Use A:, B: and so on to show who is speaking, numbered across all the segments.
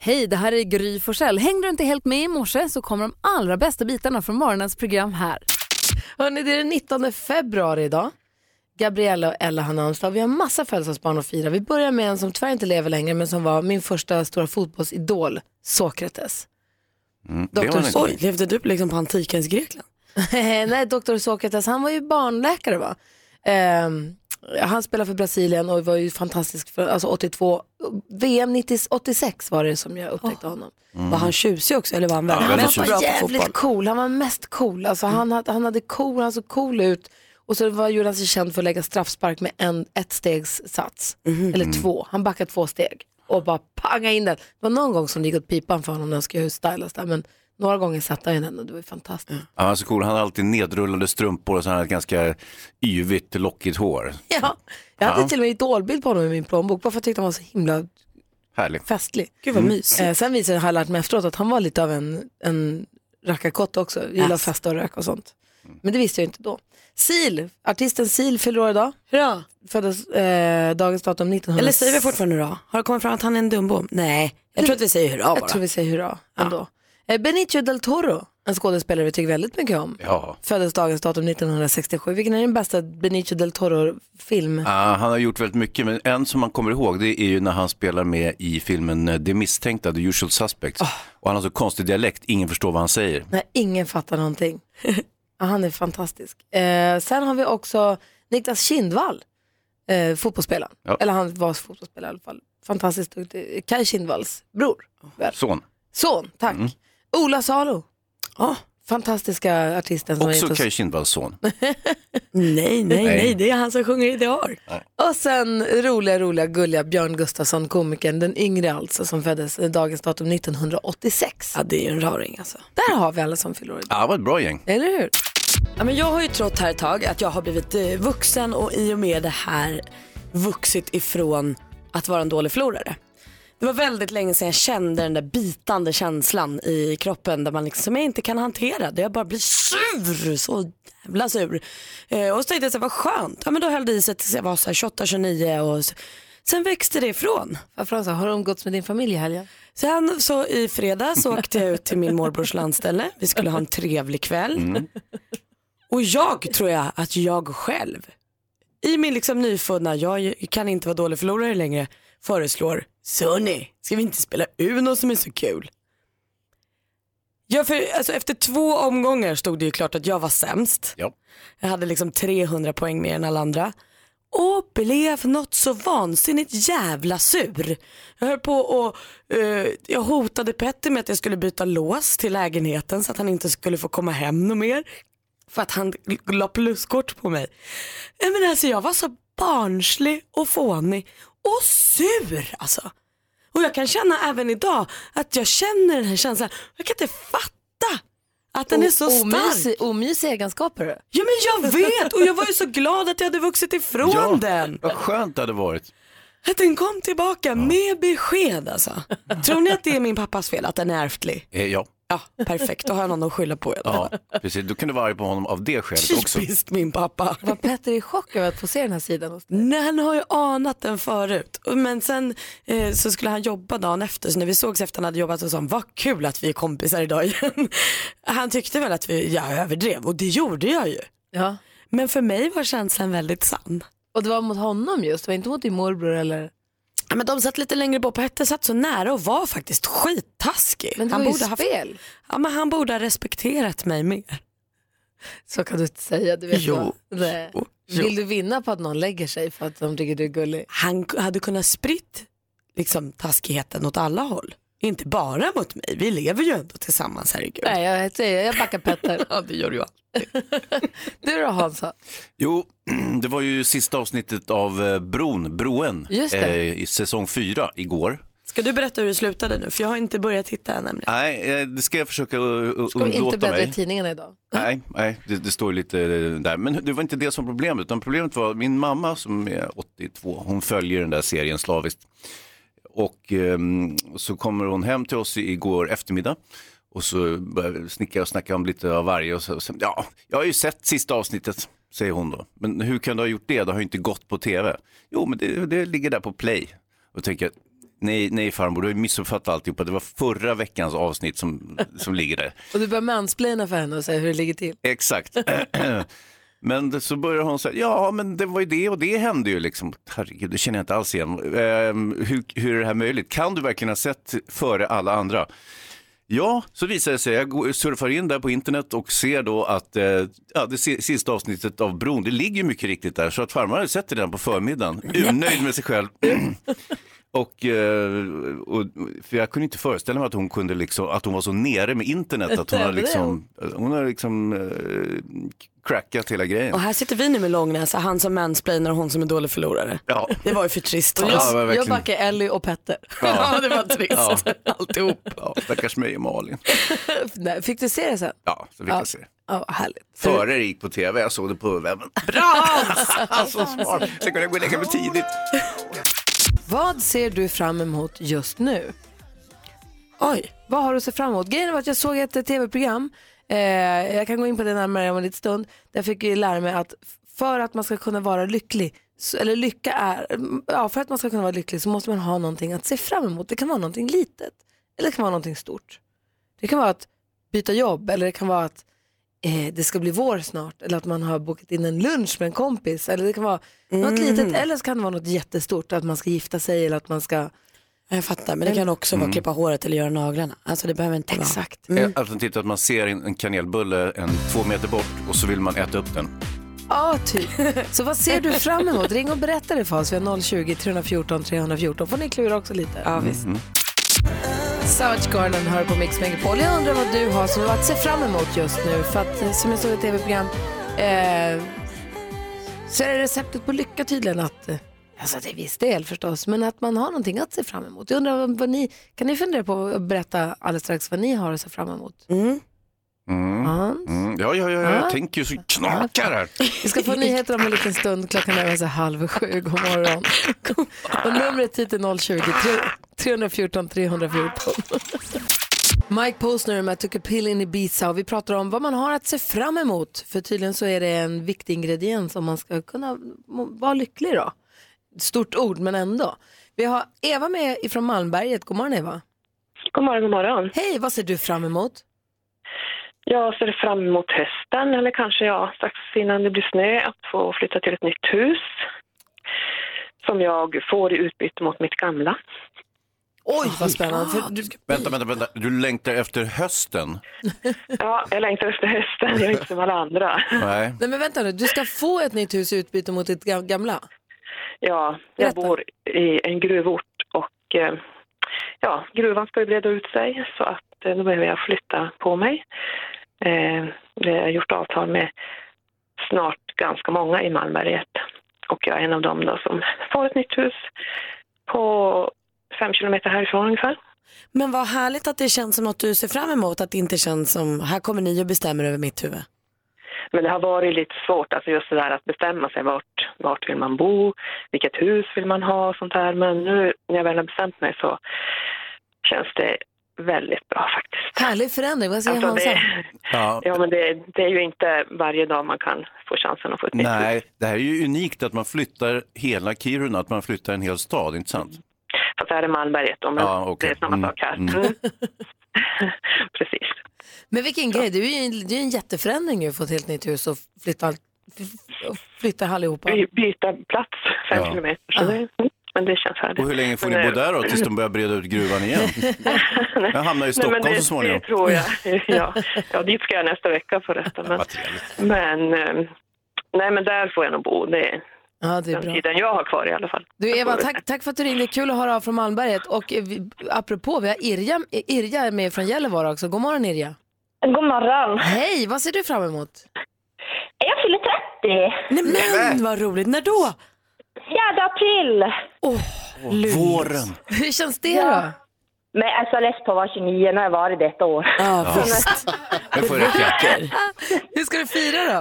A: Hej, det här är Gry Forssell. Hängde du inte helt med i morse så kommer de allra bästa bitarna från morgonens program här.
B: Hörni, det är den 19 februari idag. Gabriella och Ella har namnsdag. Vi har massa födelsedagsbarn att fira. Vi börjar med en som tyvärr inte lever längre men som var min första stora fotbollsidol, Sokrates.
C: Mm, det var
B: Doktor
C: en
B: Sorg.
C: grej.
D: Levde du liksom på antikens Grekland?
B: Nej, doktor Sokrates, han var ju barnläkare va? Ehm, han spelade för Brasilien och var ju fantastisk, för, alltså 82, VM 90, 86 var det som jag upptäckte honom.
D: Var han tjusig också eller var Mm. han
C: Ja,
D: verkligen
C: väldigt tjusig.
D: mest bra
B: var
D: på
B: jävligt
D: fotboll?
B: cool, han var mest cool. Alltså, han, hade, han hade cool, han såg cool ut. Och så var, gjorde han sig känd för att lägga straffspark med en, ett stegs sats. Eller två, han backade två steg och bara panga in den. Det var någon gång som det gick åt pipan för honom när han skulle stylas där, men några gånger satte han den och det var ju fantastiskt.
C: Ja, han var så cool. Han hade alltid nedrullade strumpor och så hade han ett ganska yvigt, lockigt hår.
B: Ja, jag hade
C: Ja.
B: till och med idolbild på honom i min plånbok. Varför tyckte han var så himla
C: Härligt.
B: festlig?
D: Gud vad mysigt.
B: Eh, sen visade, har jag lärt mig efteråt att han var lite av en, en rackarkott också. Gillar
D: Yes.
B: att
D: Mm.
B: festa och röka och sånt. Men det visste jag inte då. Sil, artisten Sil fyller år idag.
D: Hurra.
B: Föddes eh, dagens datum 1900.
D: Eller säger vi fortfarande hurra? Har det kommit fram att han är en dumbom? Nej, jag tror att vi säger hurra
B: Jag tror
D: bara.
B: vi säger hurra ändå. Eh, Benicio del Toro, en skådespelare vi tycker väldigt mycket om.
C: Ja.
B: Föddes dagens datum 1967. Vilken är den bästa Benicio del Toro-film?
C: Ja, han har gjort väldigt mycket, men en som man kommer ihåg det är ju när han spelar med i filmen eh, Det misstänkta, The Usual Suspects.
D: Ah.
C: Och han har så konstig dialekt, ingen förstår vad han säger.
B: när ingen fattar någonting. ja, han är fantastisk. Eh, sen har vi också Niklas Kindvall, eh, fotbollsspelaren.
C: Ja.
B: Eller han var fotbollsspelare i alla fall. Fantastiskt duktig. Kaj Kindvalls bror. väl?
C: Son.
B: Son, tack.
C: Mm.
B: Ola Salo.
D: Ja.
B: Fantastiska artisten. Som
C: Också
B: har gett
C: Kaj
B: oss.
C: Kindvalls son.
D: Nej, nej, nej,
C: Nej.
D: det är han som sjunger Ideal.
B: Och sen roliga, roliga, gulliga Björn Gustafsson, komikern. Den yngre alltså, som föddes eh, dagens datum 1986.
D: Ja, det är ju en raring alltså.
B: Där har vi alla som fyller år idag.
C: Ja, han var ett bra gäng.
B: Eller hur?
D: Ja, men jag har ju trott här ett tag att jag har blivit eh, vuxen och i och med det här vuxit ifrån att vara en dålig förlorare. Det var väldigt länge sedan jag kände den där bitande känslan i kroppen där man liksom som jag inte kan hantera det. Jag bara blir sur, så jävla sur. Eh, och så tänkte jag så här, vad skönt. Ja men då höll det i sig tills jag var så här 28, 29 och så. sen växte det ifrån.
B: Varför har han så- har du umgåtts med din familj i helgen?
D: Sen så i fredags åkte jag ut till min morbrors landställe. Vi skulle ha en trevlig kväll. Och jag tror jag att jag själv, i min liksom nyfunna, jag kan inte vara dålig förlorare längre, föreslår Sonny, ska vi inte spela Uno som är så kul? Jag för, alltså efter två omgångar stod det ju klart att jag var sämst.
C: Ja.
D: Jag hade liksom 300 poäng mer än alla andra. Och blev något så vansinnigt jävla sur. Jag höll på och eh, jag hotade Petter med att jag skulle byta lås till lägenheten så att han inte skulle få komma hem något mer. För att han la pluskort på mig. Nej, Men alltså jag var så barnslig och fånig och sur alltså. Och jag kan känna även idag att jag känner den här känslan. Jag kan inte fatta att den är så stark.
B: Omysig- Omysiga egenskaper.
D: Ja men jag vet och jag var ju så glad att jag hade vuxit ifrån den.
C: vad skönt det hade varit.
D: Att den kom tillbaka med besked alltså. Tror ni att det är min pappas fel att den är ärftlig?
C: Eh, ja.
D: Ja, perfekt. Då har jag någon att skylla på. Ja.
C: ja, precis. Då kan du vara arg på honom av det skälet också.
D: Typiskt min pappa.
B: Var Petter i chock över att få se den här sidan hos dig?
D: Nej, han har ju anat den förut. Men sen eh, så skulle han jobba dagen efter. Så när vi sågs efter han hade jobbat så sa han, vad kul att vi är kompisar idag igen. Han tyckte väl att vi, jag överdrev och det gjorde jag ju.
B: Ja.
D: Men för mig var känslan väldigt sann.
B: Och det var mot honom just, det var inte mot din morbror eller?
D: Ja, men de satt lite längre bort. Petter satt så nära och var faktiskt skittaskig.
B: Men det var ju spel.
D: ja, men han borde ha respekterat mig mer.
B: Så kan du inte säga, du vet
D: Jo,
B: vad. Nej.
D: jo, jo.
B: Vill du vinna på att någon lägger sig för att de tycker du är gullig?
D: Han k- hade kunnat spritt liksom, taskigheten åt alla håll. Inte bara mot mig. Vi lever ju ändå tillsammans, herregud.
B: Nej, jag säger, jag backar Petter.
D: Ja, det gör du
B: Du då Hansa?
C: Jo, det var ju sista avsnittet av eh, Bron, Broen,
B: Just det.
C: eh, i säsong fyra igår.
D: Ska du berätta hur det slutade nu? För jag har inte börjat titta än nämligen.
C: Nej, eh, det ska jag försöka eh,
B: Ska vi inte
C: undlåta
B: bläddra i
C: mig.
B: tidningarna idag?
C: Nej, nej det, det står ju lite eh, där. Men det var inte det som var problemet, utan problemet var min mamma som är 82, hon följer den där serien slaviskt. Och ehm, så kommer hon hem till oss igår eftermiddag och så börjar vi snicka och snacka om lite av varje. Och så, och sen, ja, jag har ju sett sista avsnittet, säger hon då. Men hur kan du ha gjort det? Det har ju inte gått på tv. Jo, men det, det ligger där på play. Och tänker, Nej, nej farmor, du har ju missuppfattat alltihopa. Det var förra veckans avsnitt som, som ligger där.
B: Och du börjar mansplaina för henne och säga hur det ligger till.
C: Exakt. men det- så börjar hon säga, ja men det var ju det och det hände ju liksom. Herregud, det känner jag inte alls igen. Ehm, hur, hur är det här möjligt? Kan du verkligen ha sett före alla andra? Ja, så visar det sig, jag går- surfar in där på internet och ser då att eh, ja, det si- sista avsnittet av Bron, det ligger ju mycket riktigt där, så att farmor hade sett det redan på förmiddagen, urnöjd med sig själv. Och, eh, och, för jag kunde inte föreställa mig att hon, kunde liksom, att hon var så nere med internet att hon har liksom, hon har liksom eh, crackat hela grejen.
D: Och här sitter vi nu med långnäsa, han som mansplainar och hon som är dålig förlorare.
C: Ja,
D: Det var ju för trist.
C: Ja, det var verkligen-
B: Jag backar Ellie och Petter.
D: Ja, det var trist. Alltihop.
C: ja, stackars mig och Malin.
B: Nej, Fick du se det sen?
C: Ja, så fick jag se.
B: Ja, vad härligt.
C: Före det gick på tv, jag såg det på webben. Bra! så smart. Sen kunde jag gå och lägga mig tidigt.
B: Vad ser du fram emot just nu?
D: Oj.
B: Vad har du att se fram emot? Grejen var att jag såg ett eh, tv-program, eh, jag kan gå in på det närmare om en liten stund, där jag fick ju lära mig att för att man ska kunna vara lycklig, så- eller lycka är, ja, för att man ska kunna vara lycklig så måste man ha någonting att se fram emot. Det kan vara någonting litet, eller det kan vara någonting stort. Det kan vara att byta jobb, eller det kan vara att eh, det ska bli vår snart, eller att man har bokat in en lunch med en kompis, eller det kan vara något litet, eller så kan det vara något jättestort, att man ska gifta sig eller att man ska,
D: Jag fattar, men det kan också vara klippa håret eller göra naglarna. Alltså det behöver inte vara.
B: exakt.
C: Mm. Alternativet att man ser en en kanelbulle en två meter bort och så vill man äta upp den.
B: Ja, typ. Så vad ser du fram emot? Ring och berätta det för oss. Vi har 020-314 314. får ni klura också lite. Ja, visst. Savage Garden hör på Mix Megapol. Jag undrar vad du har som du har att se fram emot just nu. För att eh, som jag såg i ett tv-program eh, så är receptet på lycka tydligen att eh, Alltså till viss del förstås, men att man har någonting att se fram emot. Jag undrar vad, vad ni, kan ni fundera på att berätta alldeles strax vad ni har att se fram emot?
C: Mm.
B: Hans?
C: Mm. Ja, ja, ja, ja, jag tänker ju så knakar här.
B: Vi ska få nyheter om en liten stund. Klockan närmar sig halv sju. God morgon. Och numret hit är 020 314 314. Mike Posner med Took a pill in Ibiza och vi pratar om vad man har att se fram emot. För tydligen så är det en viktig ingrediens om man ska kunna må- vara lycklig då. Stort ord men ändå. Vi har Eva med ifrån Malmberget. God morgon Eva.
E: God morgon, god morgon.
B: Hej, vad ser du fram emot?
E: Jag ser fram emot hösten, eller kanske ja, strax innan det blir snö, att få flytta till ett nytt hus som jag får i utbyte mot mitt gamla.
B: Oj, vad spännande. För du,
C: Vänta, vänta, vänta. Du längtar efter hösten?
E: Ja, jag längtar efter hösten, jag är inte som alla andra.
C: Nej.
B: nej men vänta nu, du ska få ett nytt hus i utbyte mot ditt ga- gamla.
E: Ja, jag
B: Berätta.
E: bor i en gruvort och eh, ja, gruvan ska ju breda ut sig så att eh, då behöver jag flytta på mig. Eh, Jag har gjort avtal med snart ganska många i Malmberget och jag är en av dem då som får ett nytt hus på fem kilometer härifrån ungefär.
D: Men vad härligt att det känns som något du ser fram emot, att det inte känns som, här kommer ni och bestämmer över mitt huvud.
E: Men det har varit lite svårt, alltså just det där att bestämma sig vart, vart vill man bo, vilket hus vill man ha och sånt där. Men nu när jag väl har bestämt mig så känns det väldigt bra faktiskt.
B: Härlig förändring, vad säger
E: Alltså
B: Hansa?
E: det,
C: Ja.
E: ja, men det, det är ju inte varje dag man kan få chansen att få ett nytt hus.
C: Nej, det här är ju unikt att man flyttar hela Kiruna, att man flyttar en hel stad, inte sant?
E: Fast det här är Malmberget då, men
C: Ja, okej.
E: det är samma
C: Mm,
E: sak här.
C: mm.
E: Mm. Precis.
B: Men vilken grej, det är ju en, det är en jätteförändring ju att få ett helt nytt hus och flytta, all- f- och flytta allihopa.
E: By, byta plats fem
C: Ja.
E: kilometer. Så
B: Ah.
E: det, mm, men det känns härligt.
C: Och hur länge får ni
E: Men,
C: bo
E: eh,
C: där då, tills de börjar breda ut gruvan igen?
E: nej.
C: Jag hamnar i
E: Nej, men
C: Stockholm
E: det,
C: så småningom.
E: Det tror jag. Ja. ja, dit ska jag nästa vecka förresten. Men,
C: Vad trevligt.
E: men, eh, nej, men där får jag nog bo. Det är
B: Ja, det är
E: den
B: bra.
E: tiden jag har kvar i alla fall.
B: Du Eva, tack, tack för att du ringde. Kul att höra av från Malmberget. Och eh, vi, apropå, vi har Irja, Irja är med från Gällivare också. God morgon Irja.
F: God morgon.
B: Hej, vad ser du fram emot?
F: Jag fyller 30.
D: Nej men
C: Nämen!
D: vad roligt, när då?
F: 4 april.
C: Våren!
B: Hur känns det då?
F: Ja. Men alltså, jag läste på att vara 29 när jag varit detta år.
D: Ja, visst.
C: Det får räcka.
B: Hur ska du fira då?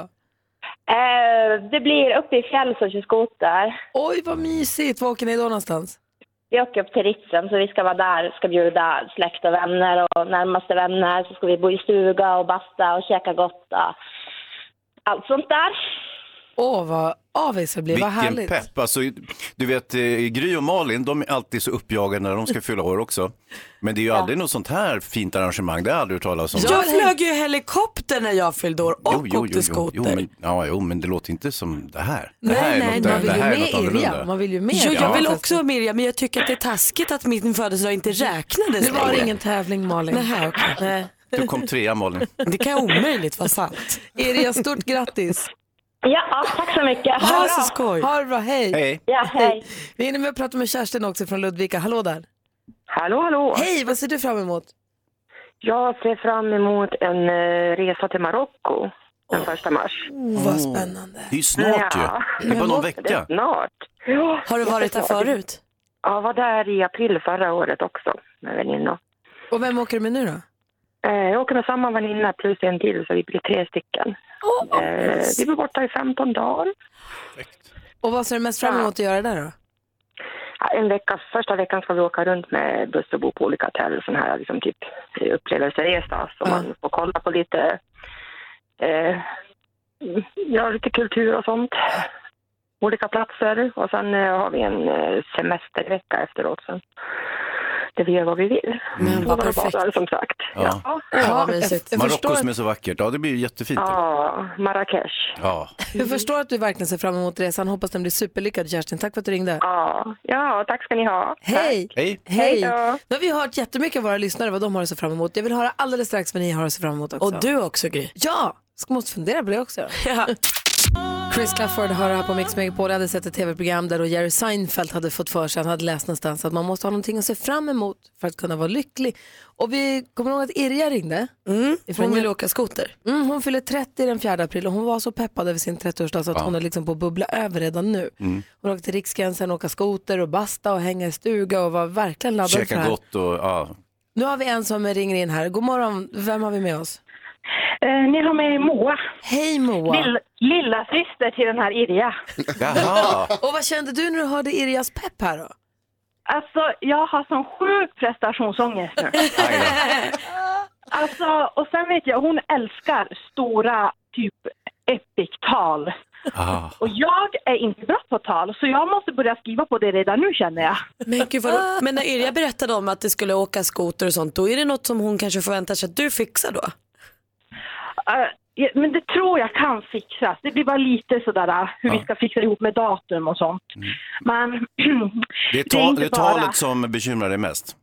F: Eh, det blir uppe i fjällen som kör skoter.
B: Oj, vad mysigt. Var åker ni då någonstans?
F: Vi åker upp till Ritsen, så vi ska vara där. Ska bjuda släkt och vänner och närmaste vänner. Så ska vi bo i stuga och basta och käka gott. Och allt sånt där.
B: Åh, vad avis jag blir.
C: Vilken
B: vad härligt.
C: pepp. Alltså, du vet, eh, Gry och Malin, de är alltid så uppjagade när de ska fylla år också. Men det är ju aldrig något sånt här fint arrangemang, det har jag aldrig hört talas om.
D: Jag flög ju helikopter när jag fyllde år och åkte
C: jo,
D: skoter.
C: jo, men, ja, jo, men det låter inte som det här. Det
D: Nej,
C: här är
D: nej,
C: något,
D: man
C: det,
B: vill
C: det
B: ju
C: här är
B: med
C: något
B: Irja.
C: annorlunda.
B: Man vill ju med
D: Jo,
B: Irja.
D: jag vill också vara Mirja, men jag tycker att det är taskigt att min födelsedag inte räknades.
B: Det var
D: längre.
B: ingen tävling Malin.
D: Nej, okej.
B: Nej.
C: Du kom trea Malin.
D: Det kan omöjligt vara sant.
B: Irja, stort grattis.
F: Ja, tack så mycket. Ha
D: Ha
F: det
D: så
F: bra.
D: skoj.
B: Ha det bra, hej.
C: Hej.
F: Ja, hej.
B: Vi hinner med att prata med Kerstin också från Ludvika. Hallå där.
E: Hallå, hallå!
B: Hej, vad ser du fram emot?
E: Jag ser fram emot en eh, resa till Marocko den första mars.
B: Oh, vad spännande.
C: Mm. Det är ju snart
E: Ja.
C: ju. Det är bara någon
E: Det är
C: vecka.
E: snart. Ja,
D: Har du varit där
E: jättesnart.
D: förut?
E: Ja, jag var där i april förra året också med väninnor.
B: Och vem åker du med nu då?
E: Eh, jag åker med samma väninna plus en till så vi blir tre stycken. Eh, vi blir borta i 15 dagar.
B: Och vad ser du mest fram emot att göra där då?
E: Ja, En vecka, första veckan ska vi åka runt med buss och bo på olika hotell och sån här liksom typ upplevelseresa. Så
B: Ja.
E: man får kolla på lite, eh, ja lite kultur och sånt. Olika platser och sen eh, har vi en eh, semestervecka efteråt sen. Där vi gör vad vi vill.
D: Men vad
E: Solar och
D: perfekt.
E: badar, som sagt.
C: Ja.
E: Ja.
D: Ja, vad
B: jag-
D: mysigt.
B: Jag,
C: Marocko
B: förstår,
C: som är så vackert. Ja, det blir ju jättefint.
E: Ja, Marrakesh.
C: Ja.
B: jag förstår att du verkligen ser fram emot resan. Hoppas den blir superlyckad Kerstin. Tack för att du ringde.
E: Ja. ja, tack ska ni ha.
B: Hej!
C: Hej.
B: Hej!
E: Hej då.
B: Nu har vi hört jättemycket av våra lyssnare vad de har att se fram emot. Jag vill höra alldeles strax vad ni har att se fram emot också.
D: Och du också Gry.
B: Ja, ska måste fundera på det också.
D: Ja.
B: Chris Clafford hör här på Mix Megapol. Jag hade sett ett tv-program där då Jerry Seinfeld hade fått för sig, han hade läst någonstans att man måste ha någonting att se fram emot för att kunna vara lycklig. Och vi kommer ihåg att Irja ringde.
D: Mm, Hon vill åka skoter.
B: Mm, hon fyller 30 den 4 april och hon var så peppad över sin 30-årsdag så att hon är liksom på att bubbla över redan nu.
C: mm.
B: Hon åkte till Riksgränsen, åka skoter och basta och hänga i stuga och var verkligen laddad för det
C: Käka
B: här.
C: gott och ja.
B: Nu har vi en som ringer in här. God morgon, vem har vi med oss?
E: Eh, ni har med Moa,
B: Hej Moa!
E: Lill, lilla syster till den här Irja.
C: Jaha.
B: Och vad kände du när du hörde Irjas pepp här då?
E: Alltså, jag har sån sjuk prestationsångest nu.
C: Aj då.
E: Alltså, och sen vet jag, hon älskar stora typ epic-tal.
C: Ah.
E: Och jag är inte bra på tal, så jag måste börja skriva på det redan nu känner jag.
D: Men, gud, vad- men när Irja berättade om att det skulle åka skoter och sånt, då är det något som hon kanske förväntar sig att du fixar då?
E: Eh, ja, men det tror jag kan fixas. Det blir bara lite sådär eh, hur vi ska fixa ihop med datum och sånt.
C: Mm.
E: Men
C: Det är,
E: Det är
C: ta-
E: inte
C: det är
E: bara-
C: talet som bekymrar dig mest.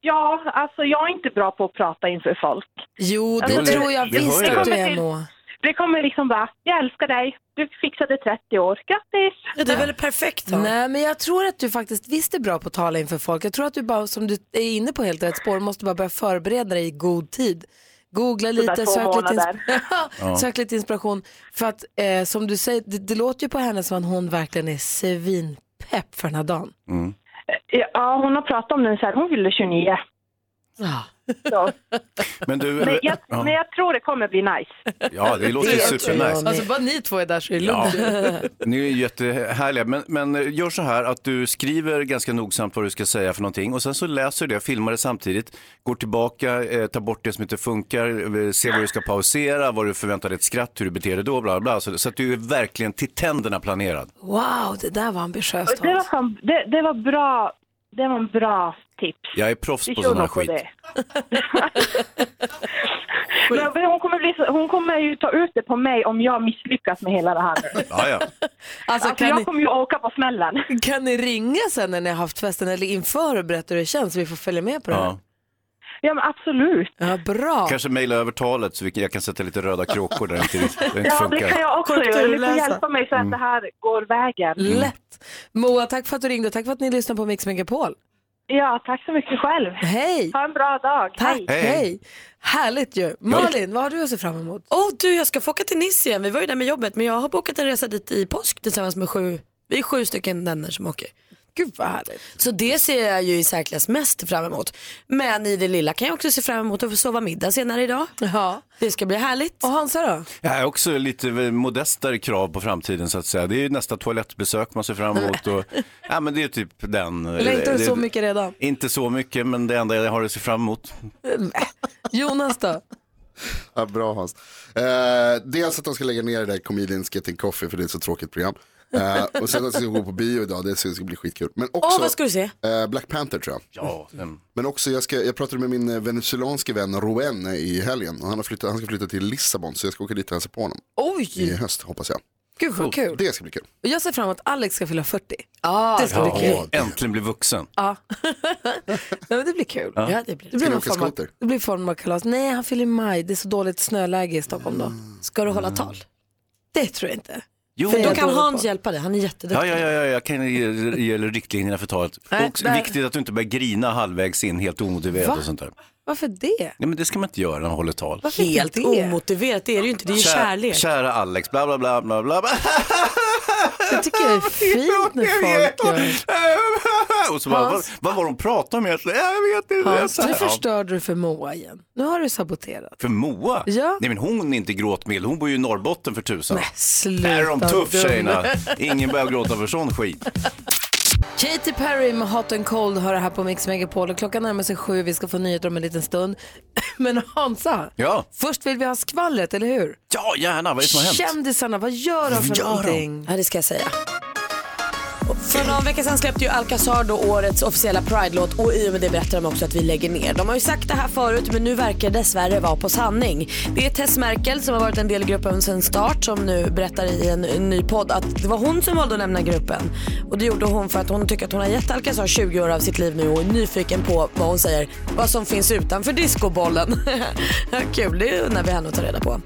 E: ja, alltså jag är inte bra på att prata inför folk.
B: Jo, det
E: Jo, det-
B: tror jag
C: vi
B: visst
C: hör ju
B: att
E: det.
B: du är Moa.
E: Det kommer liksom bara, jag älskar dig, du fixade 30 år, grattis!
D: Ja, det är väl perfekt då?
B: Nej, men jag tror att du faktiskt visst är bra på att tala inför folk. Jag tror att du bara, som du är inne på helt rätt spår, måste bara börja förbereda dig i god tid. Googla lite,
E: två
B: sök lite, ins-
C: Ja.
B: sök lite inspiration. För att eh, som du säger, det, det låter ju på henne som att hon verkligen är svinpepp för den här dagen.
C: Mm.
E: Eh, Ja, hon har pratat om den så här, hon fyller 29. Så.
C: Men du,
E: Men, jag,
C: ja.
E: men jag tror det kommer bli nice.
C: ja, det låter ju supernice.
B: Alltså bara ni två är där så är det lugnt. Alltså,
C: Ja, ni är ju jättehärliga. Men, men gör så här att du skriver ganska nogsamt vad du ska säga för någonting och sen så läser du det, filmar det samtidigt, går tillbaka, eh, tar bort det som inte funkar, eh, ser vad du ska pausera, vad du förväntar dig ett skratt, hur du beter dig då, bla bla, bla. Så, så att du är verkligen till tänderna planerad.
B: Wow, det där var ambitiöst
E: Det var,
B: Hans.
E: fan, det, det var bra. Det var en bra tips.
C: Jag är proffs
E: Vi
C: på
E: kör
C: sån här
E: nog på
C: skit.
E: det. Men hon, kommer bli, så- hon kommer ju ta ut det på mig om jag misslyckas med hela det här nu.
C: Ja, ja.
B: Alltså,
E: Alltså,
B: kan,
E: jag kommer ju åka på smällen.
B: ni, kan ni ringa sen när ni har haft festen eller inför och berätta hur det känns så vi får följa med på det här?
C: Ja.
E: Ja, men absolut.
B: Ja, bra.
C: Kanske mejla över talet så vi, kan- jag kan sätta lite röda kråkor där det inte, där det inte
E: Ja, det kan
C: funkar.
E: jag också göra. Du får
D: Korrekturläsa.
E: hjälpa
C: Mm.
E: mig så att det här går vägen.
B: Lätt. Moa, tack för att du ringde och tack för att ni lyssnar på Mix Megapol.
E: Ja, tack så mycket själv.
B: Hej!
E: Ha en bra dag.
B: Tack,
E: Hej.
B: hej. Härligt ju. Malin, vad har du att se fram emot?
D: Åh du, jag ska få åka till Nice igen. Vi var ju där med jobbet men jag har bokat en resa dit i påsk tillsammans med sju, vi är sju stycken vänner som åker.
B: Gud vad härligt.
D: Så det ser jag ju i särklass mest fram emot. Men i det lilla kan jag också se fram emot att få sova middag senare idag.
B: Ja.
D: Det ska bli härligt.
B: Och Hansa då?
C: Jag har också lite modestare krav på framtiden så att säga. Det är ju nästa toalettbesök man ser fram emot. Och, ja, men det är typ den.
B: Längtar du
C: det-
B: så mycket redan?
C: Inte så mycket, men det enda jag har att se fram emot.
B: Jonas då?
G: Ja, bra Hans. Eh, dels att de ska lägga ner det där Comedians Getting Coffee för det är ett så tråkigt program. Eh, och sen att de ska gå på bio idag, det ska bli skitkul. Men
D: Åh,
G: också
D: vad ska du se?
G: eh, Black Panther tror jag.
C: Ja, den,
G: Men också, jag, ska, jag pratade med min eh, venezuelanske vän Roen i helgen. Och han, har flyttat, han ska flytta till Lissabon så jag ska åka dit och hälsa på honom i
B: Oj,
G: höst hoppas jag.
B: gud vad kul.
G: Det ska bli kul.
B: Och jag ser fram emot att Alex ska fylla 40. Ah, det ska bli kul.
G: Ja,
C: äntligen bli vuxen.
B: Nej, men det blir kul.
D: Ja, det blir
B: Det
D: det.
B: blir,
G: ni
B: någon
G: åka
B: form av,
G: skoter?
B: det blir form av kalas. Nej, han fyller i maj. Det är så dåligt snöläge i Stockholm då.
D: Ska du hålla tal?
B: Det tror jag inte.
C: Jo,
B: För
D: Då
B: jag-
C: ja,
D: kan
B: dålig
D: Hans
B: på.
D: hjälpa dig, han är jätteduktig.
C: ja, ja, ja, jag kan ge, ge riktlinjerna för talet.
B: Nej,
C: och
B: där-
C: viktigt att du inte börjar grina halvvägs in helt omotiverat
B: Va?
C: och sånt där.
B: Varför det?
C: Nej, men det ska man inte göra när man håller tal.
B: Varför
D: Helt
B: inte det?
D: omotiverat, det är det ju inte, det är ju
C: Kär-
D: kärlek.
C: Kära Alex, bla bla bla bla bla.
B: Det tycker jag är fint när folk gör det.
C: Och så bara, vad, vad var de pratade om egentligen? Jag vet inte.
B: Hans,
C: Ja.
B: nu förstörde du för Moa igen. Nu har du saboterat.
C: För Moa?
B: Ja.
C: Nej men hon är inte gråtmild, hon bor ju i Norrbotten för tusan.
B: Sluta.
C: Där är de tuff
B: dum.
C: tjejerna. Ingen börjar gråta för sån skit.
B: Katy Perry med Hot and Cold hör det här på Mix Megapol och klockan närmar sig sju. Vi ska få nyheter om en liten stund. Men Hansa,
C: Ja.
B: först vill vi ha skvallret, eller hur?
C: Ja gärna, vad är det som har hänt?
B: Kändisarna, vad gör de
C: Vad
B: för
C: gör de?
B: någonting?
D: Ja, det ska jag säga. För någon vecka sedan släppte ju Alcazar då årets officiella Pride-låt och i och med det berättar de också att vi lägger ner. De har ju sagt det här förut men nu verkar det dessvärre vara på sanning. Det är Tess Merkel som har varit en del i gruppen sedan start som nu berättar i en ny podd att det var hon som valde att lämna gruppen. Och det gjorde hon för att hon tycker att hon har gett Alcazar 20 år av sitt liv nu och är nyfiken på vad hon säger, vad som finns utanför discobollen. Kul, det undrar vi henne att ta reda på.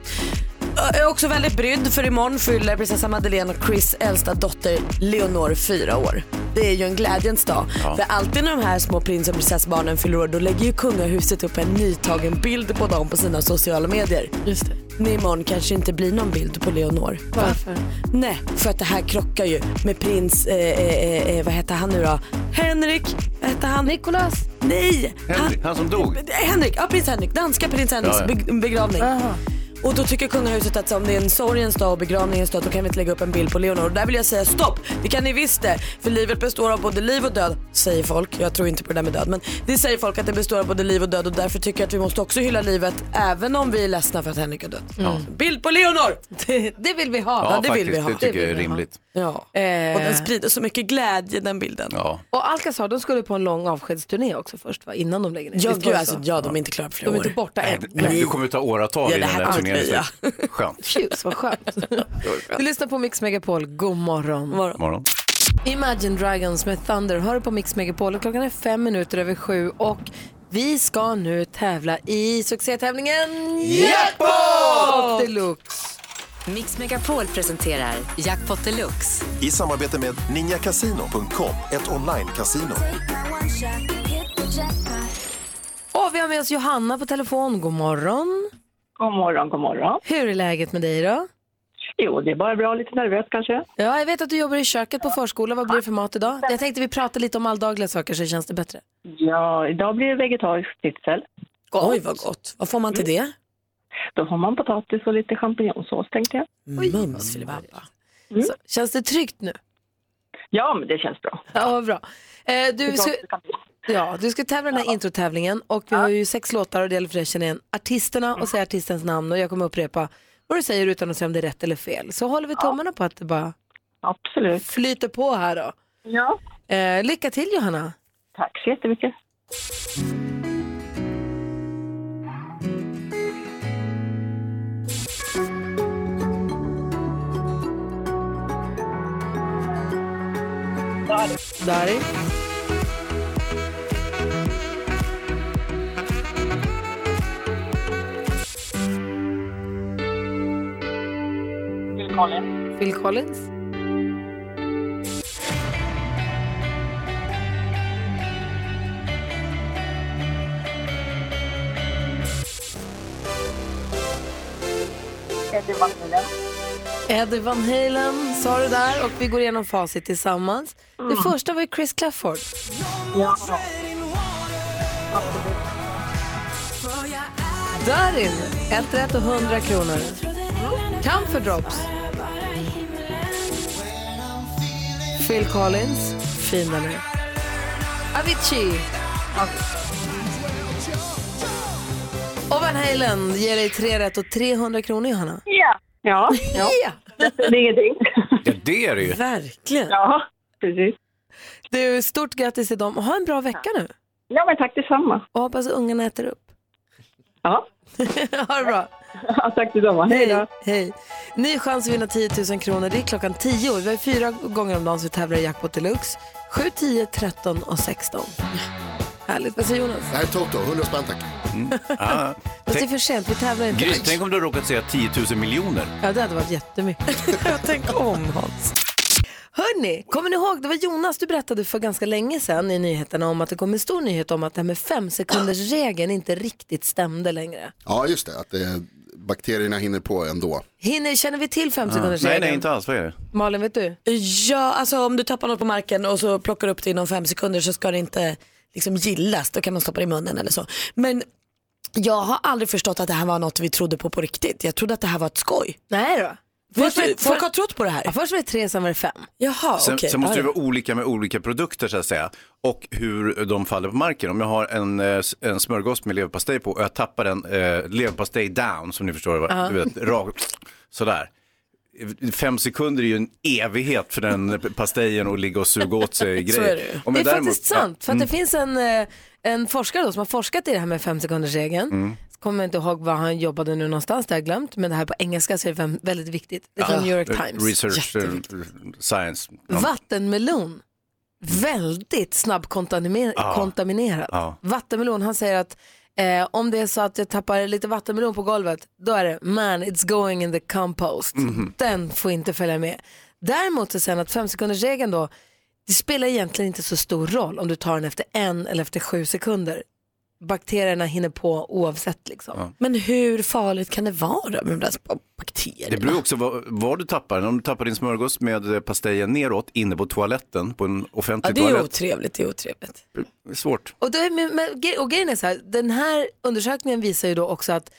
D: Jag är också väldigt brydd för imorgon fyller prinsessa Madeleine och Chris äldsta dotter Leonor fyra år. Det är ju en glädjens dag. För alltid när de här små prins och prinsessbarnen fyller år då lägger ju kungahuset upp en nytagen bild på dem på sina sociala medier. Just det. Men imorgon kanske inte blir någon bild på Leonor. Varför? Nej, för att det här krockar ju med prins, eh, eh, eh, vad heter han nu då? Henrik, vad heter han?
B: Nicolas,
D: Nej!
C: Henrik, han som dog?
D: Eh, Henrik, ja prins Henrik, danska prins Henriks
C: Ja, ja.
D: beg- begravning. Och då tycker kungahuset att om det är en sorgens dag och begravningens dag då kan vi inte lägga upp en bild på Leonor. Och där vill jag säga stopp, det kan ni visst det. För livet består av både liv och död, säger folk. Jag tror inte på det där med död, men det säger folk att det består av både liv och död och därför tycker jag att vi måste också hylla livet även om vi är ledsna för att Henrik har dött. Mm. Bild på Leonor!
B: det, det vill vi ha.
C: Ja,
D: det vill
C: faktiskt,
D: vi ha.
C: det
D: Det
C: tycker jag är
B: vill vi ha.
C: rimligt.
D: Ja.
B: Eh.
D: Och den sprider så mycket glädje den bilden.
C: Ja.
B: Och Alcazar, de skulle på en lång avskedsturné också först va? Innan de lägger ner.
D: Ja,
B: Visst var
D: gud,
B: det
D: alltså,
B: så?
D: ja, de är inte klara på flera
B: de är
D: år.
B: inte borta
C: Nej,
B: än.
C: det- nej, det kommer ta åratal
D: Ja, det
C: innan
D: här
C: den här
D: kommer
C: turneringen
D: dröja.
C: är slut. Skönt.
B: Tjus, vad skönt. du lyssnar på Mix Megapol, god morgon.
D: Morgon.
C: Morgon.
B: Imagine Dragons med Thunder hör du på Mix Megapol och klockan är fem minuter över sju och vi ska nu tävla i succétävlingen Jackpot Deluxe.
H: Mix Megapol presenterar Jackpot Deluxe.
I: I samarbete med ninjakasino.com, ett online-casino.
B: Och vi har med oss Johanna på telefon, god morgon.
E: God morgon, god morgon.
B: Hur är läget med dig idag?
E: Jo, det är bara bra. Lite nervös kanske.
B: Ja, jag vet att du jobbar i köket på förskola. Vad blir det för mat idag? Jag tänkte vi pratar lite om alldagliga saker så känns det bättre.
E: Ja, idag blir det vegetariskt schnitzel.
D: Oj, vad gott. Vad får man till
F: Mm.
D: det?
E: Då har man potatis och lite champinjonsås tänkte jag.
D: Mm, Mums filibabba.
E: Mm.
B: Så, känns det tryggt nu?
E: Ja, men det känns bra.
B: Ja, vad bra. Eh, du, ska, ja, du ska tävla den här introtävlingen och vi har ju sex låtar och det gäller för dig att känna igen artisterna
E: Mm.
B: och säga artistens namn och jag kommer upprepa vad du säger utan att säga om det är rätt eller fel. Så håller vi tummarna på att det bara
E: Absolut.
B: flyter på här då.
E: Ja.
B: Eh, lycka till Johanna.
E: Tack så jättemycket.
B: Dari.
E: Bill Collins.
B: Phil Collins.
E: Eddie Van Halen.
B: Eddie Van Halen sa du där och vi går igenom facit tillsammans. Det första var ju Chris Clafford.
E: Ja.
B: Darin, ett rätt och 100 kronor. Camphor Drops. Phil Collins, finare. Avicii. Och Van Halen ger dig tre rätt och 300 kronor Johanna.
E: Ja. Ja, ja.
B: Ja.
E: det är ingenting.
C: Ja, det är det ju.
D: Verkligen.
E: Ja, precis.
B: Du, stort grattis till dem och ha en bra vecka nu.
E: Ja, men tack detsamma.
B: Och hoppas ungarna äter upp.
E: Ja,
B: ha det bra.
E: ja tack detsamma. Hej då.
B: Hej, hej. Ny chans att vinna 10 000 kronor. Det är klockan 10. Vi har fyra gånger om dagen så vi tävlar i Jackpot Deluxe. 7, 10, 13 och 16. Härligt. Vad säger Alltså, Jonas?
G: Det här är Toto, 100 spänn tack.
C: Ah,
B: Fast det är
C: tänk,
B: för sent, vi tävlar inte.
C: Gry, tänk om du har råkat säga 10 000 miljoner.
B: Ja, det hade varit jättemycket. Jag tänker om Hans. Hörni, kommer ni ihåg, det var Jonas du berättade för ganska länge sedan i nyheterna om att det kom en stor nyhet om att det här med fem sekunders regeln inte riktigt stämde längre.
G: Ja just det, att eh, bakterierna hinner på ändå.
B: Hinner, känner vi till
G: Ah.
B: fem sekunders
C: Nej,
B: regeln?
C: nej, inte alls. Vad är det?
B: Malin, vet du?
D: Ja, alltså om du tappar något på marken och så plockar du upp det inom fem sekunder så ska det inte liksom gillas. Då kan man stoppa det i munnen eller så. Men jag har aldrig förstått att det här var något vi trodde på på riktigt. Jag trodde att det här var ett skoj.
B: Nej då.
D: Folk,
B: Först var det,
D: folk
B: för,
D: har trott på det
B: ja,
D: här.
B: först var det tre, sen var det fem.
D: Jaha,
C: Sen,
D: okej.
C: sen måste
D: Ja,
C: det vara olika med olika produkter så att säga. Och hur de faller på marken. Om jag har en, eh, s- en smörgås med leverpastej på och jag tappar den eh, leverpastej down som ni förstår, uh du vet, rakt sådär. Fem sekunder är ju en evighet för den pastejen att ligga och suga åt sig grejer.
D: är det ju.
C: Om
B: Det är
C: jag däremot- Mm.
B: faktiskt sant, för att det finns en, eh, en forskare då som har forskat i det här med femsekundersregeln.
C: Mm.
B: Så Kommer jag inte ihåg var han jobbade nu någonstans, det har jag glömt. Men det här på engelska så är det vem- väldigt viktigt. Det är från New York
C: eh,
B: Times.
C: Research, eh, science.
D: Mm.
C: Ja.
B: Vattenmelon, väldigt snabbkontaminerad. kontaminerad.
C: Ja.
B: Vattenmelon, han säger att eh, om det är så att jag tappar lite vattenmelon på golvet, då är det man it's going in the compost.
C: Mm.
B: Den får inte följa med. Däremot så säger han att femsekundersregeln då, det spelar egentligen inte så stor roll om du tar den efter en eller efter sju sekunder. Bakterierna hinner på oavsett liksom.
D: Men hur farligt kan det vara med de där bakterierna?
C: Det beror också vad, vad du tappar. Om du tappar din smörgås med eh, pastejen neråt inne på toaletten, på en
D: ja,
C: offentlig
D: det är
C: toalett.
D: otrevligt, det är otrevligt.
C: Det är svårt.
B: Och, då är, men, men, gre- och grejen är så här, den här undersökningen visar ju då också att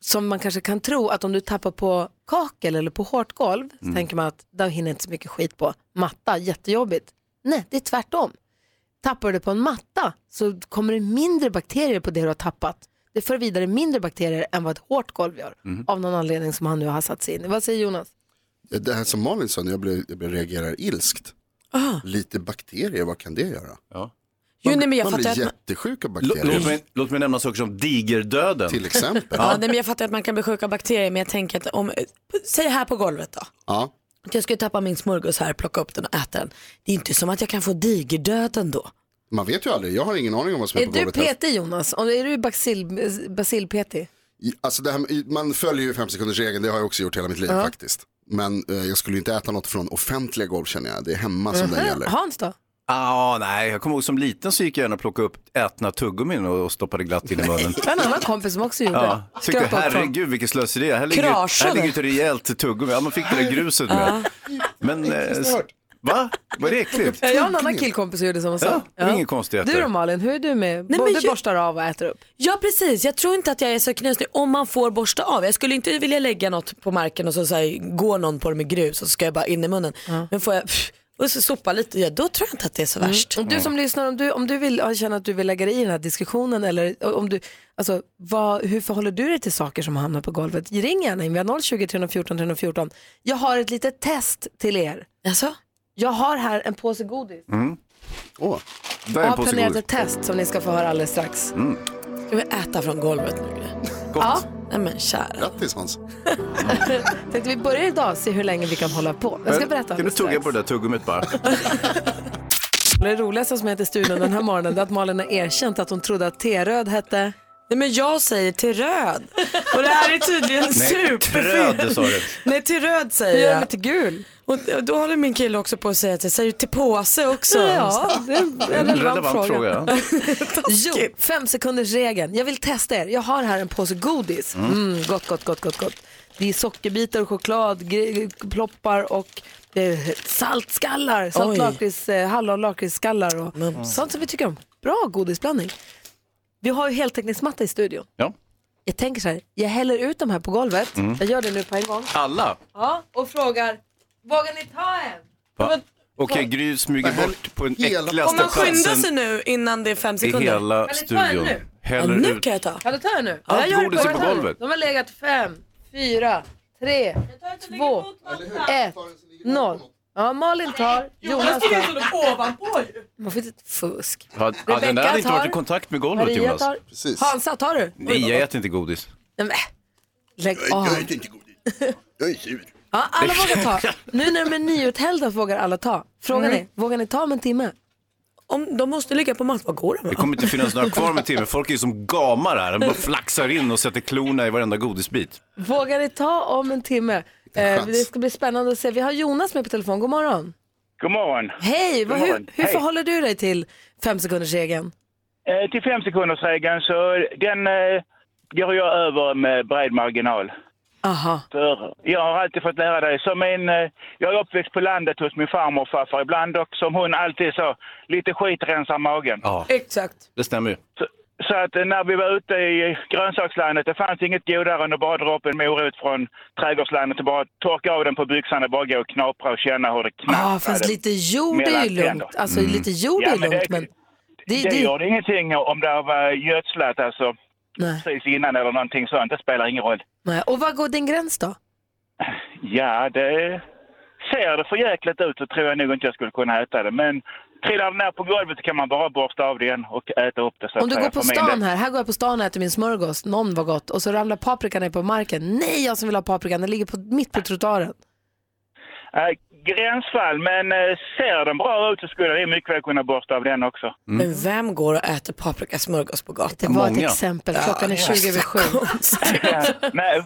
B: som man kanske kan tro att om du tappar på kakel eller på hårt golv så tänker man att där hinner inte så mycket skit på. Matta, jättejobbigt. Nej, det är tvärtom. Tappar du på en matta så kommer det mindre bakterier på det du har tappat. Det för vidare mindre bakterier än vad ett hårt golv gör. Av någon anledning som han nu har satt sig in i. Vad säger Jonas?
G: Det här som Malin sa, jag, blev, jag blev reagerar ilskt.
D: Ah.
G: Lite bakterier, vad kan det göra?
D: Jo, nej, men jag
G: Man
D: fattar
G: blir
D: att man,
G: jättesjuk av
C: Lå- Låt
G: bakterier.
C: mig, låt mig nämna saker som digerdöden.
G: Till exempel.
D: ja, nej, men jag fattar att man kan bli sjuk av bakterier men jag tänker att om, säg här på golvet då.
G: Ja.
D: Att jag skulle tappa min smörgås här, plocka upp den och äta den. Det är inte som att jag kan få digerdöden då.
G: Man vet ju aldrig, jag har ingen aning om vad som är,
B: Är
G: på
B: du
G: golvet. här.
B: petig Jonas? Om- Är du bacill- bacill-petig?
G: I- Alltså det här, med- man följer ju fem sekunders regeln, det har jag också gjort hela mitt liv faktiskt. Men eh, jag skulle ju inte äta något från offentliga golv känner jag, det är hemma
B: Mhm.
G: som det gäller.
B: Mm. Hans då?
C: Ah, nej, jag kommer ihåg som liten så gick jag gärna och plockade upp ätna tuggummin och och stoppade glatt in i munnen.
B: Det var en annan kompis som också gjorde
C: Ja,
B: det.
C: tyckte,
B: Skrapa upp från-
C: herregud vilket slöseri, här ligger,
D: Kraschade.
C: här ligger ett rejält tuggummi. Ja, man fick det där gruset med. Men, eh, s- va? Var det äckligt?
B: Jag har en annan killkompis som gjorde samma
C: Ja,
B: sak.
C: det är inga konstigheter.
B: Du då Malin, hur är du med?
D: men
B: Både
D: jag-
B: borstar av och äter upp.
D: Ja precis, jag tror inte att jag är så knusig om man får borsta av. Jag skulle inte vilja lägga något på marken och så, så här, går någon på det med grus och så ska jag bara in i munnen. Men får jag pff, och så sopa lite, ja, då tror jag inte att det är så värst. Mm.
B: Och Mm. Du som
C: Mm.
B: lyssnar, om du, om du vill, ja, känner att du vill lägga dig i den här diskussionen eller om du, alltså, vad, hur förhåller du dig till saker som hamnar på golvet? Ring gärna in, vi har 020 314 314. Jag har ett litet test till er.
D: Alltså?
B: Jag har här en påse godis.
G: Åh,
C: Där Mm. är
B: Jag
C: en Mm.
B: har
C: påse
B: planerat
C: godis.
B: ett test som ni ska få höra alldeles strax.
D: Ska vi äta från golvet nu eller?
C: Gott.
D: Nej men kära.
G: grattis Hans.
B: Tänkte vi börjar idag se hur länge vi kan hålla på. Jag ska berätta
C: Kan du
B: alldeles
C: tugga
B: strax.
C: på det där tuggummit bara?
B: Det roligaste som hände i studion den här morgonen är att Malin har erkänt att hon trodde att T-röd hette
D: Nej men jag säger till röd. Och det här är tydligen
C: Nej,
D: superfint.
C: tröd sa du.
D: Nej till röd
B: Hur
D: säger
B: gör du
D: jag.
B: till gul?
D: Och och då håller min kille också på att säga att jag säger till påse också. Mm.
B: Ja, det är en relevant,
C: Relevant
B: fråga.
C: fråga. ja.
B: Jo, fem sekunders regeln. Jag vill testa er. Jag har här en påse godis. Mm. gott, gott, gott, gott, gott. Det är sockerbitar och choklad, gre- ploppar och eh, saltskallar. Salt,
D: Oj.
B: lakrits, eh, hallon, lakritsskallar och sånt som vi tycker om. Bra godisblandning. Vi har ju heltäckningsmatta i studion.
C: Ja.
B: Jag tänker så här, jag häller ut de här på golvet. Jag gör det nu på en gång.
C: Alla.
B: Ja, och frågar, vågar ni ta en?
C: Va? Okej, Gry smyger bort på den
G: Hela-
D: Om
C: äckligaste
D: man skyndar sig
C: platsen
D: nu innan det är fem
C: i
D: sekunder.
C: hela
B: Kan ni ta en
C: studion.
B: nu?
D: Ja,
C: häller
D: nu
C: ut.
D: kan jag ta.
B: Ja, det tar jag nu.
C: Allt
B: jag gör det
C: godis
B: på
C: är på
B: varandra.
C: golvet.
B: De har legat fem, fyra, tre, två, ett, noll. Ja, Malin tar, Jonas tar.
D: ovanpå ju.
B: Man får inte fusk.
C: Ja, ja, den där
B: Rebecka
C: hade inte
B: tar.
C: varit i kontakt med golvet
B: Maria
C: Jonas.
B: tar.
G: Precis.
B: Hansa, tar du?
C: Nej, jag äter inte godis.
B: Nej, men, Lägg av.
G: Jag är inte god. Jag är sur.
B: Ja, alla vågar ta. Nu när de är nyuthällda vågar alla ta. Frågan är, vågar ni ta om en timme?
D: Mm. Om, de måste ligga på mattan. Vad går de?
C: Det kommer inte finnas några kvar med timme. Folk är ju som gamar här. De bara flaxar in och sätter klorna i varenda godisbit.
B: Vågar ni ta om en timme? Eh, det ska bli spännande att se. Vi har Jonas med på telefon. God morgon.
J: God morgon.
B: Hej, vad, hur,
J: morgon.
B: hur
J: Hej.
B: förhåller du dig till fem sekunders
J: Eh, till femsekundersregeln så den eh, går jag över med bred marginal.
B: Aha.
J: För jag har alltid fått lära dig, som en, eh, jag är uppväxt på landet hos min farmor och farfar ibland och som hon alltid sa, lite skit rensar magen.
C: Ja,
B: Exakt.
C: det stämmer ju.
J: Så, så att eh, när vi var ute i grönsakslandet, det fanns inget godare än att bara dra upp en morot från trädgårdslandet och bara torka av den på byxan och bara gå och knapra och känna hur Mm. det
B: Ja,
J: knaprar.
B: fast Ah, lite jord är
J: mellan
B: ju lugnt.
J: tänder.
B: Alltså lite jord
J: Ja,
B: är ju
J: men det-
B: lugnt, men det,
J: Det
B: det,
J: gör ingenting om det var gödslat alltså,
B: nej,
J: precis innan eller någonting sånt. Det spelar ingen roll.
B: nej. Och var går din gräns då?
J: Ja, det ser det för jäkligt ut så tror jag nog inte jag skulle kunna äta det. Men trillar det ner på golvet så kan man bara borsta av det igen och äta upp det. Så
B: Om du
J: att säga,
B: går på
J: för min
B: stan
J: del.
B: här, här går jag på stan och äter min smörgås, någon var gott, och så ramlar paprikan ner på marken. Nej, jag som vill ha paprikan, den ligger på, mitt på trottoaren.
J: Eh, gränsfall, men eh, ser den bra ut så skulle jag mycket väl kunna borsta av den också.
D: Men vem går och äter paprikasmörgås på
B: Det
D: gatan?
B: var ett
C: många.
B: exempel, klockan är 20 över 7.
J: Ja, Nej,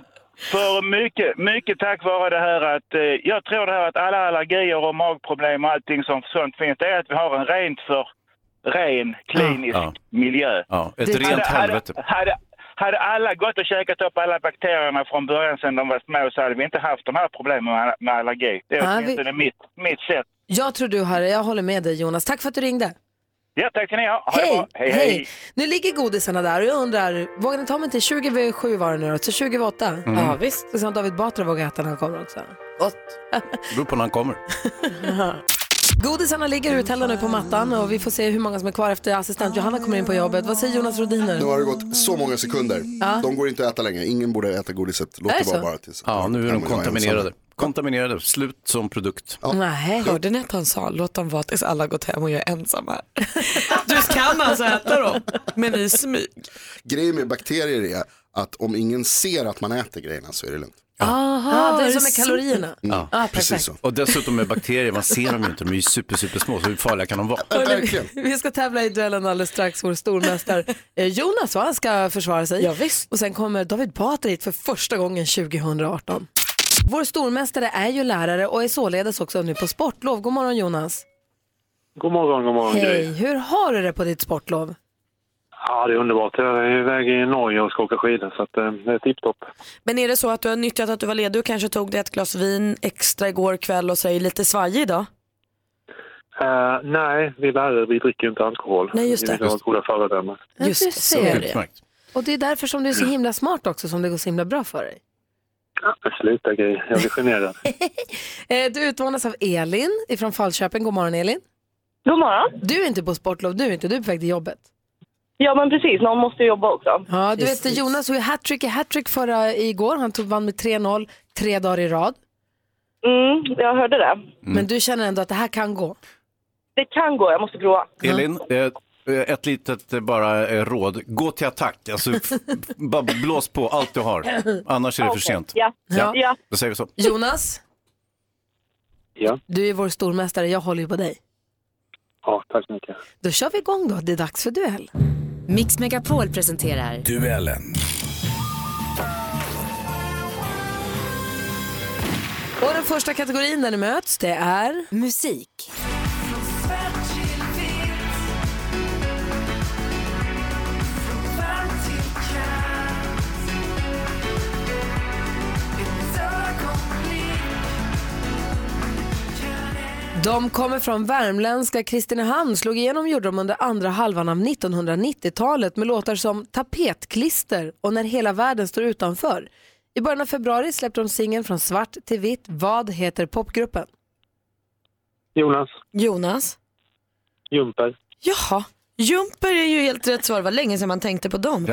J: för mycket, mycket tack vare det här att eh, jag tror det här att alla allergier och magproblem och allting som sånt finns, det är att vi har en rent för ren klinisk
C: Ja.
J: miljö.
C: Ja, ett
B: Det-
C: rent helvete.
J: Hade, hade, hade alla gått och käkat upp alla bakterierna från början sen de var små så hade vi inte haft de här problemen med, med allergi. Det
B: Ja,
J: är
B: vi-
J: åtminstone mitt, mitt sätt.
B: Jag tror du har det, jag håller med dig Jonas. Tack för att du ringde.
J: Ja, tack ska ni ha. ha det
B: Hej,
J: bra. hej, hej.
B: Nu ligger godisarna där och jag undrar, vågar ni ta mig till 20 över 7 var det nu då, till 20 över 8?
D: Ja, visst.
B: Så som David Batra vågar äta när han kommer också.
D: Gott.
C: Det beror på när han kommer.
B: Godisarna ligger uthällda nu på mattan och vi får se hur många som är kvar efter assistent Johanna kommer in på jobbet. Vad säger Jonas
G: Nu
B: Rodiner?
G: har det gått så många sekunder. De går inte att äta längre. Ingen borde äta godiset. Låt
B: Är
G: det
B: det
G: vara
B: så?
G: bara tills
C: Ja, nu är
G: Ja,
C: de
G: men jag ensam.
C: kontaminerade. Kontaminerade, slut som produkt.
B: Nej.
D: Hörde ni att han sa låt dem vara tills alla gått hem och jag är ensam här? Du kan alltså äta dem, men i smyg.
G: Grejen med bakterier är att om ingen ser att man äter grejerna så är det lugnt. Mm.
B: Ah, det är
D: är
B: som
D: det
B: med
D: så?
B: kalorierna.
C: Ja.
B: Ah,
G: Precis
B: perfekt.
G: så.
C: Och dessutom med bakterier, man ser dem ju inte. De är ju super, super små, så hur farliga kan de vara?
G: Ja, verkligen.
B: Vi ska tävla i duellen alldeles strax. Vår stormästare eh, Jonas och han ska försvara sig.
D: Ja, visst.
B: Och sen kommer David Batra hit för första gången 2018. Vår stormästare är ju lärare och är således också nu på sportlov. God morgon Jonas.
J: God morgon, god morgon.
B: Hej, hur har du det på ditt sportlov?
J: Ja, det är underbart. Jag är iväg i Norge och ska åka skidor så eh, det är tipptopp.
D: Men är det så att du har nyttjat att du var ledig och kanske tog dig ett glas vin extra igår kväll och så är lite svajig idag?
J: Eh, nej, vi lärare vi dricker ju inte alkohol.
D: Nej, just det. Vi vill
J: har goda föredömen.
B: Ja,
D: Just
B: du
D: det, så
B: ser.
D: är
C: Utmärkt.
B: Och det är därför som du är så himla smart också som det går så himla bra för dig.
J: Sluta grej, jag blir generad.
B: Eh, Du utmanas av Elin ifrån Falköping. God morgon Elin.
F: God morgon.
B: Du är inte på sportlov, du är inte, du är på väg till jobbet.
F: Ja, men precis. Någon måste ju jobba också.
B: Ja, du vet
D: Precis.
B: Jonas var ju hattrick i hattrick förra igår. Han tog vann med 3-0 tre dagar i rad.
F: Mm, jag hörde det.
B: Men du känner ändå att det här kan gå.
F: Det kan gå, jag måste prova.
C: Elin, eh, ett litet eh, bara eh, råd. Gå till attack, alltså f- bara blås på allt du har. Annars är det för sent.
F: Ja.
C: Ja.
F: Ja.
C: Då säger vi så.
B: Jonas,
J: Ja,
B: du är vår stormästare, jag håller ju på dig.
J: ja tack så mycket.
B: Då kör vi igång då, det är dags för duell.
H: Mix Megapol presenterar
B: Och den första kategorin där ni möts, det är...
H: musik.
B: De kommer från värmländska Kristinehamn, slog igenom gjorde de under andra halvan av 1990-talet med låtar som Tapetklister och När hela världen står utanför. I början av februari släppte de singeln Från svart till vitt. Vad heter popgruppen?
J: Jonas,
D: Jonas?
J: Jumper.
D: Jaha, Jumper är ju helt rätt svar. Det var länge sedan man tänkte på dem.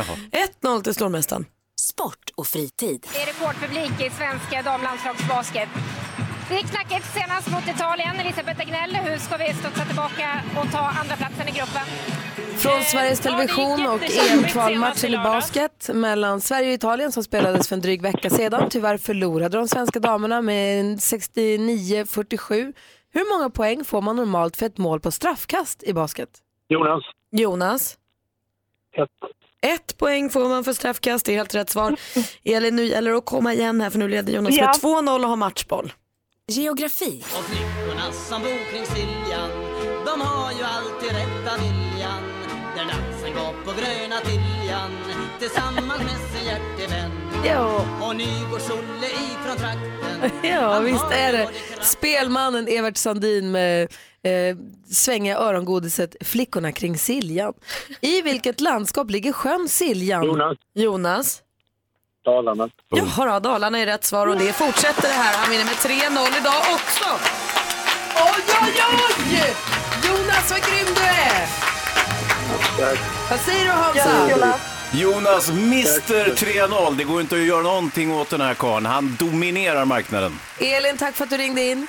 D: 1-0 till stormästaren.
H: Sport och fritid.
K: Det är rekordpublik i svenska damlandslagsbasket. Det gick knackigt senast mot Italien. Elisabeth Agnell, hur ska vi studsa tillbaka och ta andra platsen i gruppen?
B: Från Sveriges Television och E EM-kvalmatchen i basket mellan Sverige och Italien som spelades för en dryg vecka sedan. Tyvärr förlorade de svenska damerna med 69-47. Hur många poäng får man normalt för ett mål på straffkast i basket?
D: Jonas. Jonas. Ett. Ett poäng får man för straffkast, det är helt rätt svar. Elin, nu gäller det att komma igen här för nu leder Jonas
H: Ja.
D: med 2-0 och har matchboll.
H: Geografi.
L: Och flickorna som bor kring Siljan De har ju alltid rätta viljan Där dansen går på gröna Tiljan Tillsammans med sin hjärtevän
B: Ja.
L: Och Nygårds-Olle ifrån trakten
B: Ja, visst är det. Spelmannen Evert Sandin med eh, svänga örongodiset Flickorna kring Siljan. I vilket landskap ligger sjön Siljan?
D: Jonas. Jonas.
M: Dalarna.
D: Jaha då, Dalarna är rätt svar och det fortsätter det här. Han vinner med 3-0 idag också.
B: Oj, oj, oj! Jonas, vad grym du är! Vad säger du Hansa?
C: Jonas, Mr 3-0. Det går inte att göra någonting åt den här karln. Han dominerar marknaden.
B: Elin, tack för att du ringde in.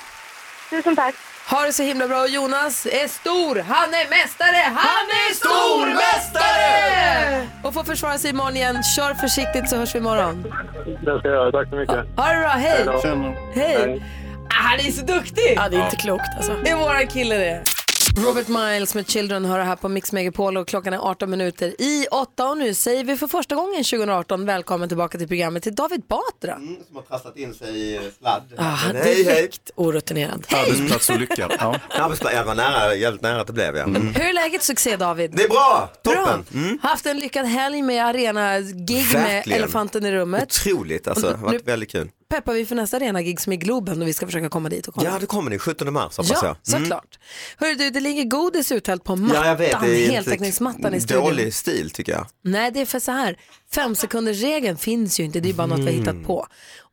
B: Tusen tack. Ha det så himla bra. Och Jonas är stor, han är mästare, han är stormästare! Och får försvara sig imorgon igen. Kör försiktigt så hörs vi imorgon.
M: Det ska jag göra. Tack så mycket.
B: Ha det bra, hej!
M: då.
B: Hej! Ah, han är så duktig!
D: Ja, det är inte klokt alltså.
B: Det är våran kille det. Robert Miles med Children hör här på Mix Megapol och klockan är 18 minuter i 8 och nu säger vi för första gången 2018 välkommen tillbaka till programmet till David Batra.
N: som har trasslat in sig i sladd.
B: Ah,
N: Men
D: direkt orutinerad.
N: Arbetsplatsolycka. Ja. Arbetsplats, jag var nära, jävligt nära att det blev jag.
B: Hur är läget succé David?
N: Det är bra, toppen. Mm.
B: Haft en lyckad helg med arena-gig med
N: Verkligen.
B: Elefanten i rummet.
N: Otroligt alltså, det har varit väldigt kul.
B: Peppar vi för nästa arena-gig som är Globen och vi ska försöka komma dit och kolla.
N: Ja, det kommer ni 17 mars hoppas
B: Ja,
N: jag. Mm.
B: såklart. Hörru du, det ligger godis uthällt på mattan,
N: Ja, jag vet. Det är inte-
B: heltäckningsmattan i studion.
N: Dålig stil tycker jag.
B: Nej, det är för så här. Femsekundersregeln finns ju inte, det är bara något vi har
N: Mm.
B: hittat på.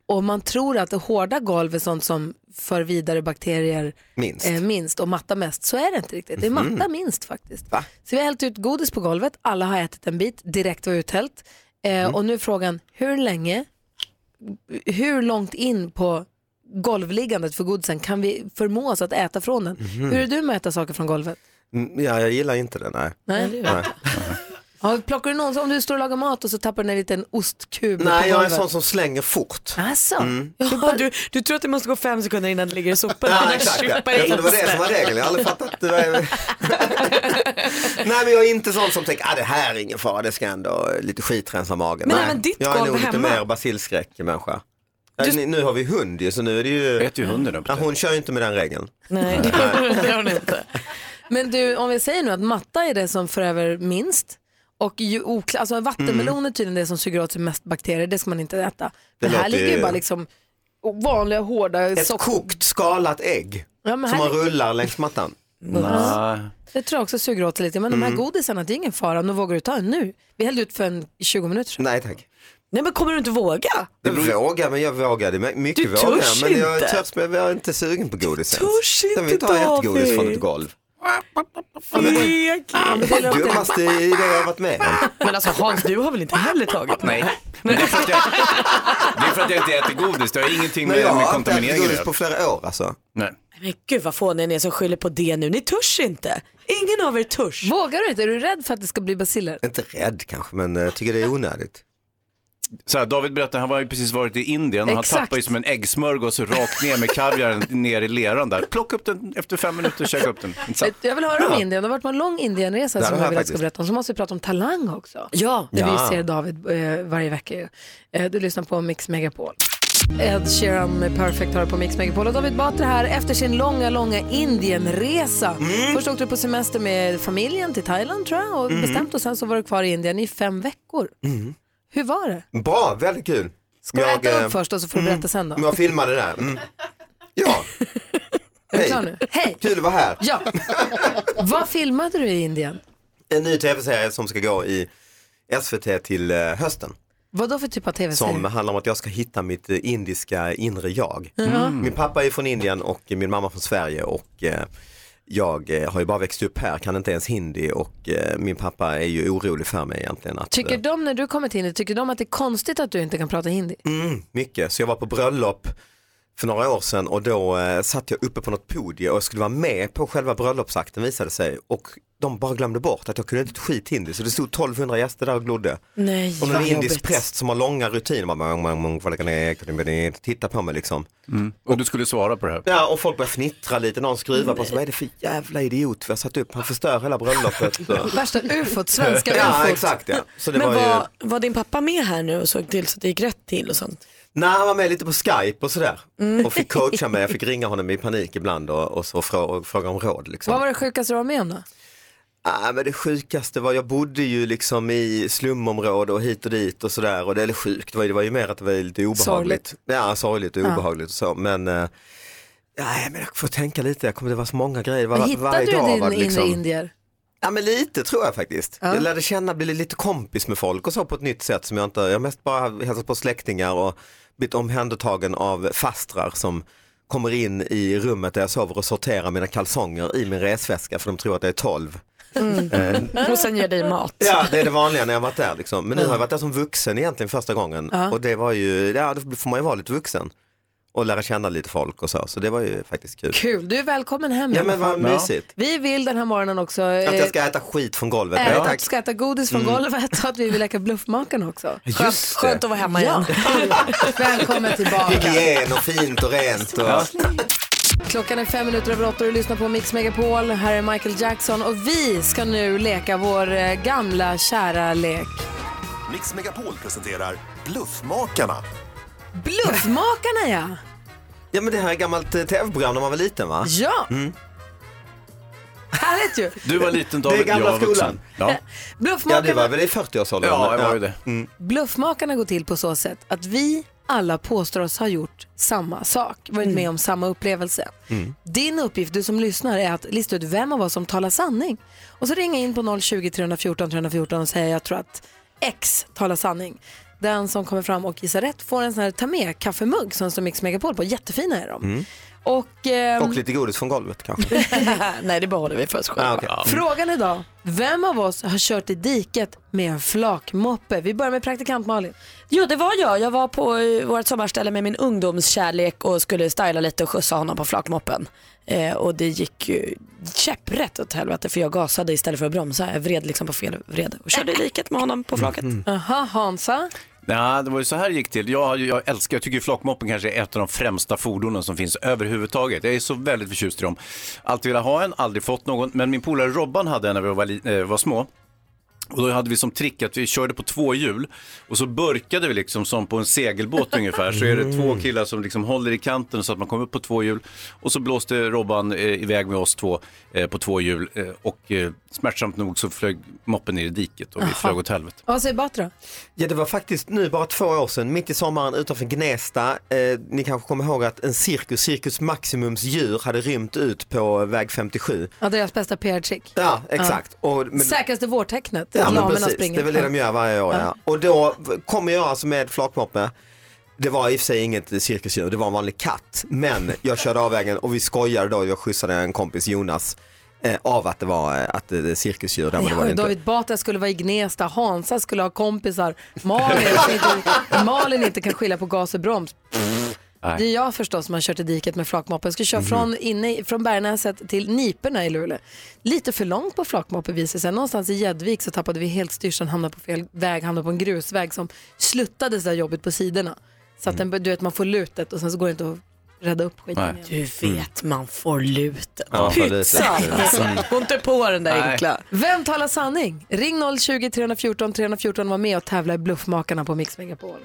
B: Och man tror att det hårda golv är sånt som för vidare bakterier
N: Minst.
B: eh, minst och matta mest. Så är det inte riktigt. Det är matta
N: Mhm.
B: minst faktiskt. Så vi har hällt ut godis på golvet, alla har ätit en bit, direkt var uthällt. Eh,
N: Mm.
B: Och nu är frågan, hur länge, hur långt in på golvliggandet för godisen kan vi förmå oss att äta från den?
N: Mhm.
B: Hur är du med att äta saker från golvet?
N: Mm, Ja, jag gillar inte det, nej.
B: Nej. Ja, plockar du någon, om du står och lagar mat och så tappar du ner en liten ostkub på
N: Nej, jag är en
B: golvet.
N: sån som slänger fort.
B: Alltså.
N: Mm.
D: Ja, du, du tror att det måste gå fem sekunder innan det ligger i soporna.
N: Ja,
D: Annars
N: exakt. Jag
D: tjoppar det
N: trodde det var
D: in
N: det som var
D: snö.
N: regeln. Jag har aldrig fattat. Det var... Nej, men jag är inte sån som tänker, ah, det här är ingen fara, det ska ändå lite skitrensa magen.
D: Men
N: Nej,
D: även ditt
N: jag är
D: golv
N: nog lite
D: hemma.
N: mer basilskräck-människa. Ja, ni- Nu har vi hund ju, så nu är det ju... Äter ju hunden upp ja, Hon kör ju inte med den regeln.
D: Nej, det har hon inte.
B: Men du, om vi säger nu att matta är det som för över minst och ju okla- alltså vattenmelon är tydligen det som suger åt sig mest bakterier, det ska man inte äta.
N: Mm. Det
B: Men här
N: låter
B: ligger ju
N: ju-
B: bara liksom vanliga hårda
N: Ett kokt skalat ägg
B: Ja, men
N: som
B: här-
N: man rullar längs mattan.
B: Nej. Det tror jag också suger åt sig lite, men de här
N: Mm.
B: godisarna, det är ingen fara, nu vågar du ta en nu. Vi hällde ut för en 20 minuter sedan.
N: Nej tack.
D: Nej men kommer du inte våga?
N: Jag vågar, men jag vågade. mig- Mycket
D: Du törs
N: vågar, men jag
D: inte.
N: törs, men jag är inte sugen på godis ens.
D: törs
N: Sen vill
D: inte,
N: jag ta ett godis
D: David.
N: från ett golv.
D: Lek.
N: Det dummaste i det jag har varit med om.
D: Men alltså Hans, du har väl inte heller tagit
C: Nej. Men det, är för att jag, det är för att jag inte äter godis. Det har ingenting
N: Men jag
C: med, med
N: har inte ätit
C: kontamineringen
N: godis på flera år alltså.
C: Nej.
D: Men gud vad fåniga ni är som skyller på det nu. Ni törs inte. Ingen av er törs.
B: Vågar du inte? Är du rädd för att det ska bli baciller?
N: Inte rädd kanske, men jag tycker det är onödigt.
C: Så här, David berättade, han var ju precis varit i Indien och han
B: Exakt.
C: tappade ju som en äggsmörgås rakt ner med kaviaren ner i leran där. Plocka upp den efter fem minuter och käka upp den. Intressant.
B: Jag vill höra om Indien, det har varit en lång Indienresa
C: Det
B: som
C: har
B: jag
C: jag
B: vill att du ska
C: faktiskt.
B: berätta om. Så måste vi prata om talang också. Ja. Där
C: Ja.
B: vi ser David eh, varje vecka. ju. Eh, du lyssnar på Mix Megapol. Ed Sheeran med Perfect har på Mix Megapol och David Batra här efter sin långa, långa Indienresa. Först åkte du på semester med familjen till Thailand tror jag och
N: Mm.
B: bestämt och sen så var du kvar i Indien i fem veckor. Hur var det?
N: Bra, väldigt kul. eh, mm.
B: Ska jag äta upp först och så får du berätta sen då?
N: Jag filmade det där. Mm. Ja. Hej.
B: Hej.
N: Kul att vara här.
B: Ja. Vad filmade du i Indien?
N: En ny tv-serie som ska gå i SVT till eh, hösten.
B: Vad då för typ av tv-serie?
N: Som handlar om att jag ska hitta mitt eh, indiska inre jag.
B: Ja. Mm.
N: Min pappa är från Indien och min mamma från Sverige och eh, jag eh, har ju bara växt upp här, kan inte ens hindi och eh, min pappa är ju orolig för mig egentligen. Att, eh,
B: Tycker de när du kommer till Indien, tycker de att det är konstigt att du inte kan prata hindi?
N: Mm, mycket. Så jag var på bröllop för några år sedan och då eh, satt jag uppe på något podium och skulle vara med på själva bröllopsakten visade sig och de bara glömde bort att jag kunde inte ett skit hindi så det stod 1200 gäster där och glodde.
B: Nej,
N: och någon
B: vad
N: indisk
B: jobbigt.
N: präst som har långa rutiner, bara, "Mong, mong, mong, vad kan jag- kan jag- titta på mig liksom.
C: Mm. Och du skulle svara på det här?
N: Ja, och folk började fnittra lite, någon skruvar på sig, vad är det för jävla idiot vi har satt upp, han förstör hela bröllopet.
B: Värsta ufot,
D: svenska ufot.
N: Ja, exakt ja. Så det
D: Men
N: var
D: var,
N: ju...
D: var, din pappa med här nu och såg till så att det gick rätt till och sånt?
N: Nej, han var med lite på Skype och sådär.
D: Mm.
N: Och fick coacha mig, jag fick ringa honom i panik ibland och, och så frå, och fråga om råd. Liksom.
B: Vad var det sjukaste du var med om då?
N: Ah, men det sjukaste var, jag bodde ju liksom i slumområde och hit och dit och sådär. Och det, eller sjukt, det var, ju- det var ju mer att det var lite obehagligt.
B: Sorgligt.
N: Ja, sorgligt och
B: Ja.
N: obehagligt och så. Men, eh, nej, men jag får tänka lite, jag kommer, det var så många grejer. Var,
B: Men hittade
N: varje
B: du
N: dag
B: din
N: var det liksom...
B: inre indier?
N: Ja men lite tror jag faktiskt.
B: Ja.
N: Jag lärde känna, bli lite kompis med folk och så på ett nytt sätt som jag inte, jag har mest bara hälsat på släktingar och blivit omhändertagen av fastrar som kommer in i rummet där jag sover och sorterar mina kalsonger i min resväska för de tror att jag är 12.
D: Mm.
N: Eh.
D: och sen gör dig mat.
N: Ja, det är det vanliga när jag varit där liksom. Men nu har jag varit där som vuxen egentligen första gången
D: Ja.
N: och det var ju, ja då får man ju vara lite vuxen och lära känna lite folk och så, så det var ju faktiskt kul.
B: Kul, du är välkommen hem. i
N: Ja
B: alla
N: men vad
B: fall.
N: mysigt.
B: Vi vill den här morgonen också
N: Att
B: eh,
N: jag ska äta skit från golvet.
B: Även
N: Nej,
B: att
N: tack.
B: du ska äta godis från
N: Mm.
B: golvet och att vi vill leka bluffmakarna också.
N: Just Skönt- det. skönt att vara hemma
B: Ja. Välkommen tillbaka.
N: Hygien och fint och rent. Och...
B: Klockan är fem minuter över åtta och du lyssnar på Mix Megapol. Här är Michael Jackson och vi ska nu leka vår eh, gamla kära lek.
I: Mix Megapol presenterar Bluffmakarna.
B: Bluffmakarna ja!
N: Ja men det här är gammalt eh, tv-program när man var liten va?
B: Ja.
N: Mm.
B: Härligt ju!
C: Du var liten
N: Det är
C: David, jag
N: gamla
C: var vuxen.
N: skolan.
C: Ja.
N: Ja du
B: Bluffmakarna,
N: var väl i 40-årsåldern?
C: Ja, jag var ju det.
N: Mm.
B: bluffmakarna går till på så sätt att vi alla påstår oss ha gjort samma sak, varit med om samma upplevelse.
L: Mm.
B: Din uppgift, du som lyssnar, är att lista ut vem av oss som talar sanning. Och så ringa in på 020 314 314 och säga jag tror att X talar sanning. Den som kommer fram och gissar rätt får en sån här ta med kaffemugg som står Mix Megapol på. Jättefina är de. Mm. Och, ehm,
N: Och lite godis från golvet kanske?
D: Nej det behåller vi för oss själva.
N: Ah, okej.
B: Frågan idag, vem av oss har kört i diket med en flakmoppe? Vi börjar med praktikant Malin.
D: Jo det var jag. Jag var på eh, vårt sommarställe med min ungdomskärlek och skulle styla lite och skjutsa honom på flakmoppen. Eh, och det gick ju käpprätt åt helvete för jag gasade istället för att bromsa. Jag vred liksom på fel vrede och körde i liket med honom på flaket.
N: Mm.
B: Aha, Hansa.
C: Nej, det var ju så här det gick till. Jag, har ju- jag älskar, jag tycker flockmoppen kanske är ett av de främsta fordonen som finns överhuvudtaget. Jag är så väldigt förtjust i dem. Alltid velat ha en, aldrig fått någon. Men min polare Robban hade en när vi var, li- eh, var små. Och då hade vi som trick att vi körde på två hjul och så burkade vi liksom som på en segelbåt ungefär. Så är det två killar som liksom håller i kanten så att man kommer upp på två hjul. Och så blåste Robban eh, iväg med oss två eh, på två hjul eh, och eh, smärtsamt nog så flög moppen ner i diket och vi
B: Jaha.
C: flög åt helvete.
B: Vad säger Batra?
N: Ja det var faktiskt nu bara två år sedan, mitt i sommaren utanför Gnesta. Eh, ni kanske kommer ihåg att en cirkus, Cirkus Maximums djur hade rymt ut på väg 57.
B: Ja, deras bästa PR-trick.
N: Ja exakt. Och, men-
B: Säkraste vårtecknet,
N: Ja,
B: att
N: men
B: lamerna
N: precis.
B: springer.
N: Det är väl det de gör varje år. Ja. Och då kommer jag alltså med flakmoppe. Det var i och för sig inget cirkusdjur, det var en vanlig katt. Men jag körde av vägen och vi skojade då, jag skjutsade en kompis Jonas eh, av att det var eh, att det, det är cirkusdjur. Där, men det var
B: Ja,
N: det inte.
B: David Batra skulle vara i Gnesta, Hansa skulle ha kompisar, Malin, som inte, Malin inte kan skilja på gas och broms. Det är jag förstås som har kört i diket med flakmoppe. Jag skulle
N: Mhm.
B: köra från, inne, i- från Bergnäset till Niperna i Luleå. Lite för långt på flakmoppe visade sig. Någonstans i Gäddvik så tappade vi helt styrseln, hamnade på fel väg, hamnade på en grusväg som sluttade så där jobbigt på sidorna. Så att den,
N: Mm.
B: du vet, man får lutet och sen så går det inte att rädda upp skiten
D: Nej.
B: igen.
D: Du vet man får luten.
N: Ja, för lite.
D: Pytsan alltså. Gå inte på den där
N: Nej.
D: enkla.
B: Vem talar sanning? Ring 020-314 314 var med och tävla i Bluffmakarna på Mix Megapol.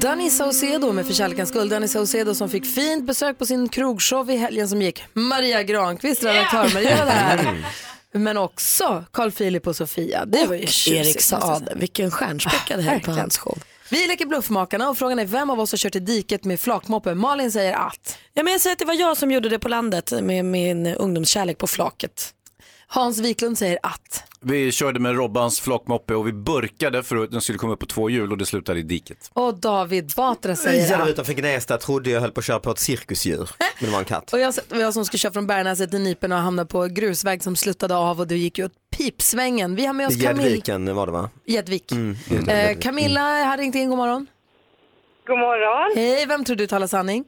B: Danny Saucedo med För kärlekens skull. Danny Saucedo som fick fint besök på sin krogshow i helgen som gick. Maria Granqvist, redaktör-Maria var där. Men också Carl Philip och Sofia. Det var ju tjusigt,
D: Erik
B: måste jag
D: Saade,
B: säga.
D: vilken stjärnspäckad helg på hans show.
B: Vi leker Bluffmakarna och frågan är vem av oss har kört i diket med flakmoppe? Malin säger att.
D: Ja, men jag säger att det var jag som gjorde det på landet med min ungdomskärlek på flaket.
B: Hans Wiklund säger att.
C: Vi körde med Robbans flockmoppe och vi burkade för att den skulle komma upp på två hjul och det slutade i diket.
B: Och David Batra säger
N: Jävlar
B: att.
N: utanför Gnesta trodde jag höll på att köra på ett cirkusdjur. Men det var en katt.
B: Och jag, jag som skulle köra från Bärnäset till Nipen och hamnade på grusväg som slutade av och du gick ju åt pipsvängen. Vi har med
N: I
B: oss Camilla.
N: Gäddviken var det va?
B: Gäddvik.
N: Mm,
B: Eh,
N: Gäddvik.
B: Camilla har ringt in, god morgon.
O: God morgon.
B: Hej, vem tror du talar sanning?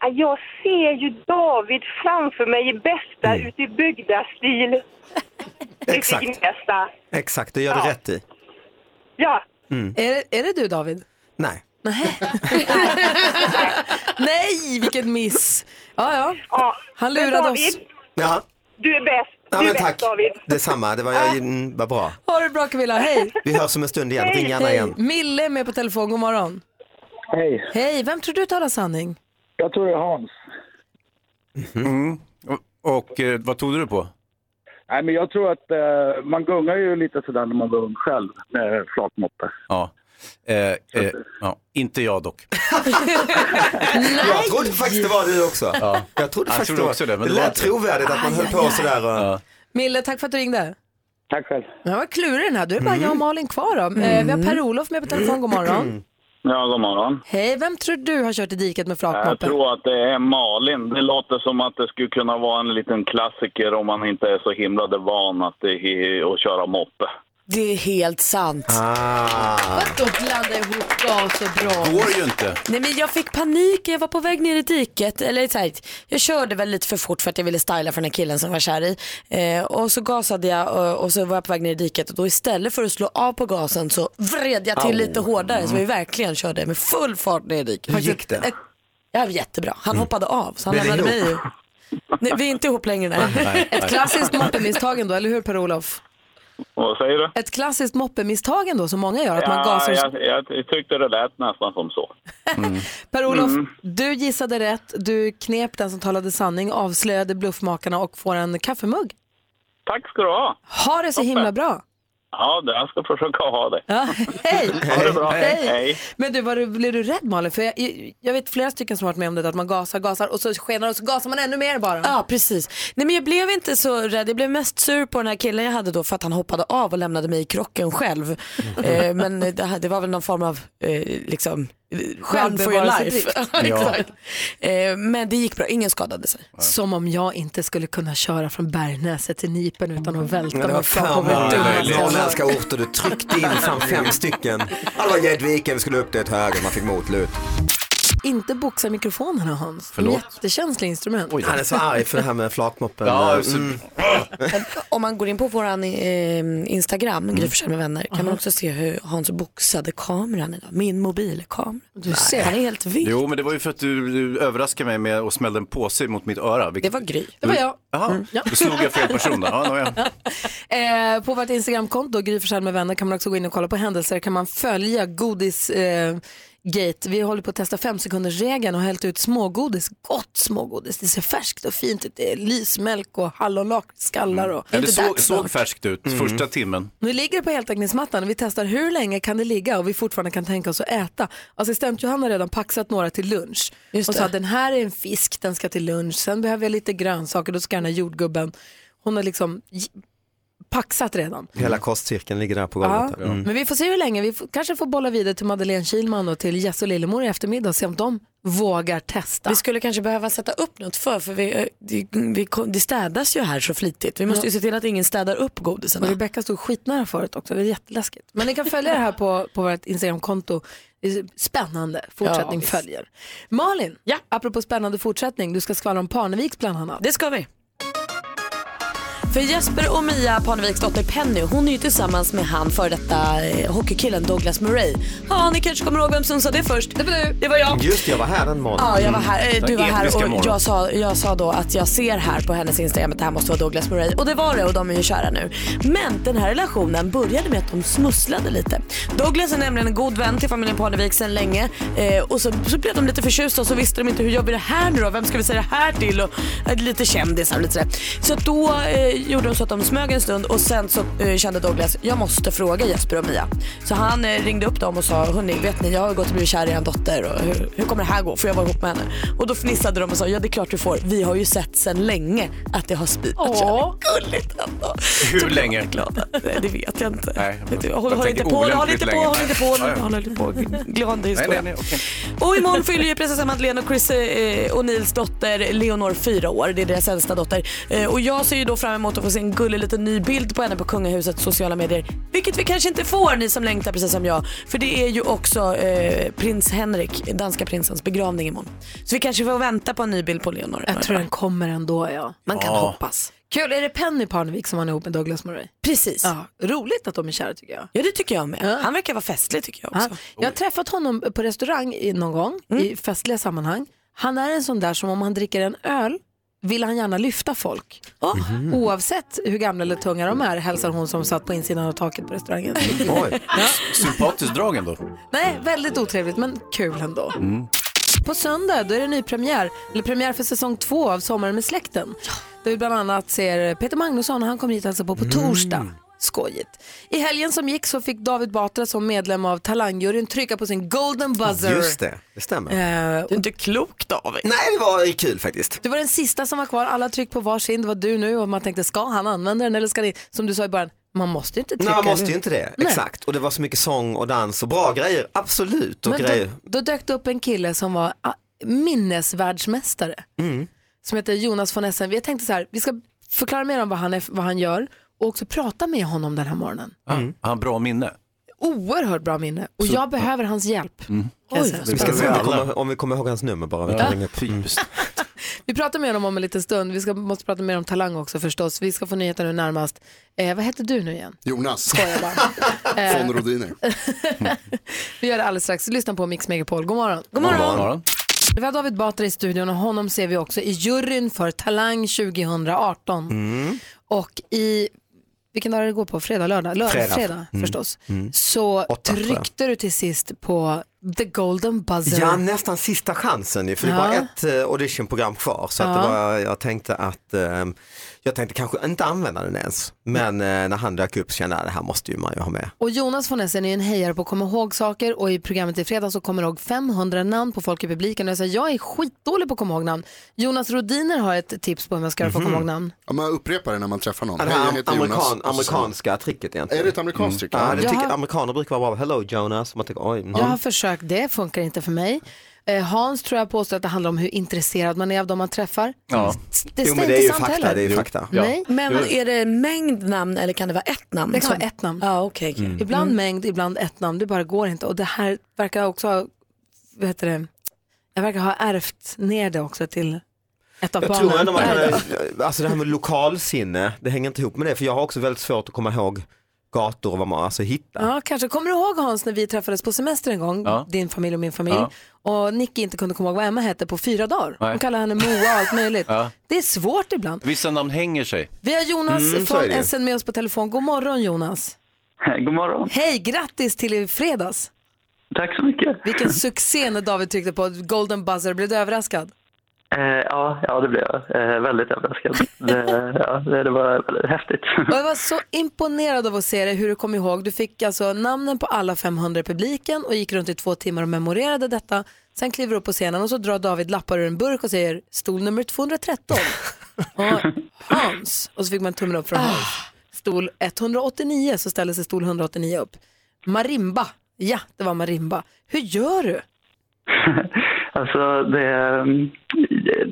O: Ja, Jag ser ju David framför mig i bästa ute i bygdastil.
N: Exakt.
O: Ute i Gnesta.
N: Exakt, det gör du rätt i.
O: Ja.
N: Mm.
B: Är, är det du David?
N: Nej.
B: Nej, vilken miss. Ja, ja. Han lurade oss.
N: Ja,
O: Du är bäst. du
N: ja
O: är
N: men
O: bäst
N: tack.
O: David.
N: Detsamma, det var, jag, mm, var bra.
B: Ha det bra Camilla, hej.
N: Vi hörs om en stund igen, ring gärna
B: Hej.
N: igen.
B: Mille är med på telefon, god morgon.
M: Hej.
B: Hej, vem tror du talar sanning?
M: Jag tror det är Hans.
C: Mm. Och, och eh, vad tog du på?
M: Nej, men jag tror att eh, man gungar ju lite sådär när man var ung själv med flakmoppe.
C: Ja. Eh, eh, ja. Inte jag dock.
N: Jag trodde faktiskt det var du också.
C: Ja.
N: Jag trodde
C: Jag
N: faktiskt
C: trodde också det, men
N: det
C: det var
N: lät
C: inte.
N: trovärdigt att man
C: Aj,
N: höll
C: aj,
N: på
C: aj.
N: sådär. eh, Och...
B: Mille, tack för att du ringde.
M: Tack själv.
B: Ja, vad klurig den här, du är bara
M: Mm.
B: jag och Malin kvar då. Eh, Vi
L: Mm.
B: har Per-Olof med på telefon, god morgon.
M: Ja, god morgon.
B: Hej, vem tror du har kört i diket med
M: Jag
B: flakmoppen?
M: tror att det är Malin. Det låter som att det skulle kunna vara en liten klassiker om man inte är så himla van att, eh, att köra moppe.
D: Det är helt sant.
N: Ah.
B: Då blandar ihop gas och bra.
C: Går ju inte.
D: Nej men jag fick panik, jag var på väg ner i diket. Eller så här, jag körde väl lite för fort för att jag ville styla för den här killen som jag var kär i. Eh, och så gasade jag och, och så var jag på väg ner i diket och då istället för att slå av på gasen så vred jag till
L: Au.
D: lite hårdare så vi
L: Mm.
D: verkligen körde med full fart ner i diket.
L: Hur gick det? Mm.
D: Eh, Ja, jättebra. Han hoppade av så han
L: Blev ni
D: lämnade mig.
L: ihop?
D: Nej, vi är inte ihop längre.
L: Nej,
D: Nej.
L: nej,
B: Ett klassiskt moppemisstag ändå, eller hur Per-Olof?
M: Vad säger du?
B: Ett klassiskt moppemisstag ändå som många gör, att man gasar.
M: ja, jag, jag tyckte det lät nästan som så.
B: Per-Olof,
M: Mm.
B: du gissade rätt, du knep den som talade sanning, avslöjade bluffmakarna och får en kaffemugg.
M: Tack ska du ha.
B: Ha det så himla bra.
M: Ja, jag ska försöka ha det.
B: Ja, hej!
M: Ha det bra.
B: Hej.
M: Hej.
B: Men du, var du, blev du rädd Malin? För jag, jag vet flera stycken som har varit med om det, att man gasar, gasar och så skenar och så gasar man ännu mer bara.
D: Ja precis. Nej men jag blev inte så rädd, jag blev mest sur på den här killen jag hade då för att han hoppade av och lämnade mig i krocken själv.
B: Mm.
D: Eh, men det, här- det var väl någon form av eh, liksom själv for your life. Exakt. Eh, men det gick bra, ingen skadade sig.
B: Som om jag inte skulle kunna köra från Bergnäset till Nipen utan
D: Mm.
B: att välta
N: Men det var
B: mig fram på
N: fan
B: min
N: vad
B: dumma
N: norrländska orter du tryckte in fram fem stycken. Ja, det var Gäddviken, vi skulle upp till ett höger, man fick motlut.
B: Inte boxa mikrofonerna Hans.
N: Förlåt?
B: Jättekänsliga instrument.
N: Han är så arg för det här med flakmoppen.
C: Ja, alltså- så-
N: mm.
D: Om man går in på våran eh, Instagram,
B: Mm.
D: Gry Forssell med vänner, kan man också se hur Hans boxade kameran idag. Min mobilkamera. Du ser. Han är helt vild.
C: Jo, men det var ju för att du, du överraskade mig med att smällde en påse mot mitt öra. vilket- Mm.
D: Det var Mm. Gry.
B: Det var jag.
C: Jaha, då slog jag fel person då. Ja, det var jag.
B: Eh, på vårt Instagramkonto, Gry Forssell med vänner, kan man också gå in och kolla på händelser. kan man följa godis... Eh, Gate. Vi håller på att testa femsekundersregeln och har hällt ut smågodis, gott smågodis. Det ser färskt och fint ut. Det är lysmälk och hallonlakritsskallar och...
C: Mm. Ja,
B: Är
C: det
B: inte
C: såg,
B: dags
C: såg
B: snart?
C: färskt ut
D: Mm.
C: första timmen.
B: Nu ligger det på heltäckningsmattan och vi testar hur länge kan det ligga och vi fortfarande kan tänka oss att äta. Assistent Johanna har redan paxat några till lunch.
D: Just
B: Hon sa
D: det.
B: att den här är en fisk, den ska till lunch, sen behöver jag lite grönsaker, då ska den här jordgubben. Hon har liksom j- paxat redan.
N: Hela kostcirkeln ligger där på
B: Ja,
N: golvet. Mm.
B: Men vi får se hur länge, vi får, kanske får bolla vidare till Madeleine Kilman och till Jess och Lillemor i eftermiddag och se om de vågar testa.
D: Vi skulle kanske behöva sätta upp något för, för vi, eh, det, vi, kom- det städas ju här så flitigt. Vi måste ju se till att ingen städar upp godisarna.
B: Och Rebecka stod skitnära förut också, det är jätteläskigt. Men ni kan följa det här på, på vårt Instagramkonto. Det är Spännande
D: Ja,
B: fortsättning
D: visst.
B: följer. Malin, apropå spännande fortsättning, du ska skvallra om Parneviks bland annat.
D: Det ska vi. För Jesper och Mia Parneviks dotter Penny, hon är ju tillsammans med han före detta eh, hockeykillen Douglas Murray. Ja, ni kanske kommer ihåg vem som sa det först? Det var du. Det var jag.
N: Just det, jag var här den morgonen. Mm.
D: Ja, jag var här, eh,
N: Den
D: du var här
N: episka
D: och
N: morgonen.
D: jag sa, jag sa då att jag ser här på hennes Instagram att det här måste vara Douglas Murray och det var det och de är ju kära nu. Men den här relationen började med att de smusslade lite. Douglas är nämligen en god vän till familjen Parnevik sedan länge eh, och så, så blev de lite förtjusta och så visste de inte hur gör vi det här nu då? Vem ska vi säga det här till? Och, eh, lite kändisar och lite sådär. Så att då eh, gjorde de så att de smög en stund och sen så eh, kände Douglas, jag måste fråga Jesper och Mia. Så han eh, ringde upp dem och sa, hörni vet ni jag har gått och blivit kär i er dotter och hur, hur kommer det här gå? Får jag vara ihop med henne? Och då fnissade de och sa, ja det är klart du får. Vi har ju sett sedan länge att det har spridit kärlek. Gulligt ändå.
C: Hur länge?
D: Nej, det vet jag inte.
C: Nej,
D: Håll, håll inte på, håll inte på, håll inte på, håll inte på, håll inte på. Glömde historia. Och imorgon fyller ju prinsessan Madeleine och Chris eh, och Nils dotter Leonor fyra år. Det är deras äldsta dotter. Eh, och jag ser ju då fram emot att få se en gullig liten ny bild på henne på kungahusets sociala medier. Vilket vi kanske inte får ni som längtar precis som jag. För det är ju också eh, prins Henrik, danska prinsens begravning imorgon. Så vi kanske får vänta på en ny bild på Leonor.
B: Jag tror den kommer ändå ja. Man kan
D: Ja.
B: hoppas. Kul, är det Penny Parnevik som han är ihop med Douglas Murray?
D: Precis.
B: Ja, roligt att de är kära tycker jag.
D: Ja det tycker jag med. Han verkar vara festlig tycker jag också.
B: Ja. Jag har träffat honom på restaurang i- någon gång i festliga sammanhang. Han är en sån där som om han dricker en öl vill han gärna lyfta folk. Ja,
C: Mm.
N: Mm.
L: Mhm.
B: Oavsett hur gamla eller tunga de är hälsar hon som satt på insidan av taket på restaurangen.
C: Sympatiskt drag ändå.
B: Nej, väldigt otrevligt men kul ändå.
C: Mm.
B: På söndag då är det nypremiär, eller premiär för säsong två av Sommaren med släkten. Där vi bland annat ser Peter Magnusson och han kommer hit alltså på på
N: Mm.
B: torsdag. Skojigt. I helgen som gick så fick David Batra som medlem av Talangjuryn trycka på sin golden buzzer.
N: Just det, det stämmer.
B: Eh,
D: Du är inte klok David.
N: Nej, det var kul faktiskt.
B: Du var den sista som var kvar, alla tryckte på varsin, det var du nu och man tänkte ska han använda den eller ska ni, som du sa i början, man måste inte trycka.
N: Nej, man måste
B: eller
N: ju
B: hur?
N: inte det.
B: Nej.
N: Exakt. Och det var så mycket sång och dans och bra grejer. Absolut. Och
B: Men
N: grejer.
B: då, då dök det upp en kille som var ah, minnesvärldsmästare
N: Mm.
B: som heter Jonas von Essen. Vi tänkte så här, vi ska förklara mer om vad han, är, vad han gör och också prata med honom den här morgonen.
C: Han har Ah, bra minne.
B: Oerhört bra minne och
C: Så-
B: jag behöver hans hjälp. kan jag säga.
N: Mm. vi ska se om vi, kommer, om vi kommer ihåg hans nummer bara. Vi
B: Ja.
N: kan ringa upp. Mm.
B: Vi pratar med honom om en liten stund. Vi ska, måste prata mer om talang också förstås. Vi ska få nyheter nu närmast. Eh, vad heter du nu igen?
G: Jonas
B: Eh,
G: von Rodiner.
B: Vi gör det alldeles strax. Lyssna på Mix Megapol. God morgon.
G: God morgon. God morgon.
B: Vi har David Batra i studion och honom ser vi också i juryn för Talang 2018. Och i, vilken dag är det går på? Fredag, lördag? Lördag, fredag,
N: Mm.
B: förstås.
N: Mm.
B: Så
N: Åtta, tror jag.
B: tryckte du till sist på the golden buzzer.
N: Ja, nästan sista chansen ju, för det
B: Ja.
N: var ett eh, auditionprogram kvar. Så att det
B: Ja.
N: var, jag tänkte att, eh, jag tänkte kanske inte använda den ens. Men eh, när han dök upp så kände jag, det här måste ju man ju ha med.
B: Och Jonas von Essen är en hejare på att komma ihåg saker och i programmet i fredag så kommer jag ihåg 500 namn på folk i publiken. Och jag säger, jag är skitdålig på att komma ihåg namn. Jonas Rodiner har ett tips på hur man ska göra för att
N: Mhm.
B: komma ihåg namn.
G: Ja, man upprepar det när man träffar någon.
N: Ja, det
G: Hej,
N: här
G: jag heter Jonas.
N: amerikan,
G: Och så-
N: amerikanska tricket egentligen. Mm.
G: Är det ett amerikanskt trick?
N: Ja, det
B: Jaha.
N: tycker, amerikaner brukar vara bra, hello Jonas. Man tycker, oj, mm."
B: Jag har försökt det, funkar inte för mig. Eh, Hans tror jag påstår att det handlar om hur intresserad man är av de man träffar.
N: Ja.
B: Det
N: Jo, men
B: stämmer
N: det är ju
B: inte sant
N: fakta,
B: heller.
N: det är ju fakta.
B: Nej.
D: Men är det en mängd namn eller kan det vara ett namn?
B: Det kan
D: som-
B: vara ett namn.
D: Ja, okej.
B: Mm. Ibland mängd, ibland ett namn. Det bara går inte. Och det här verkar också ha, vad heter det, jag verkar ha ärvt ner det också till ett av
N: Jag
B: barnen.
N: tror ändå man
B: Nej,
N: kan,
B: då.
N: alltså det här med lokalsinne, det hänger inte ihop med det. För jag har också väldigt svårt att komma ihåg gator och vad man alltså hittar.
B: Ja, kanske. Kommer du ihåg Hans när vi träffades på semester en gång,
N: Ja.
B: din familj och min familj,
N: Ja.
B: och Nicky inte kunde komma ihåg vad Emma hette på fyra dagar.
C: Nej.
B: Hon kallade henne Moa och allt möjligt.
C: Ja.
B: Det är svårt ibland.
C: Vissa namn hänger sig.
B: Vi har Jonas
C: Mm, så är
B: från
C: det ju.
B: Essen med oss på telefon. God morgon Jonas.
P: God morgon.
B: Hej, grattis till i fredags.
P: Tack så mycket.
B: Vilken succé när David tryckte på golden buzzer. Blev du överraskad?
P: Eh, ja, ja, det blev jag. Eh, väldigt överraskad. Det, ja, det, det var väldigt häftigt.
B: Och jag var så imponerad av att se dig, hur du kom ihåg. Du fick alltså namnen på alla 500 i publiken och gick runt i två timmar och memorerade detta. Sen kliver du upp på scenen och så drar David lappar ur en burk och säger stol nummer 213. och Hans, och så fick man tummen upp
P: Ah.
B: från Hans. Stol 189 så ställer sig stol 189 upp. Marimba, ja det var marimba. Hur gör du?
P: Alltså, det, mm,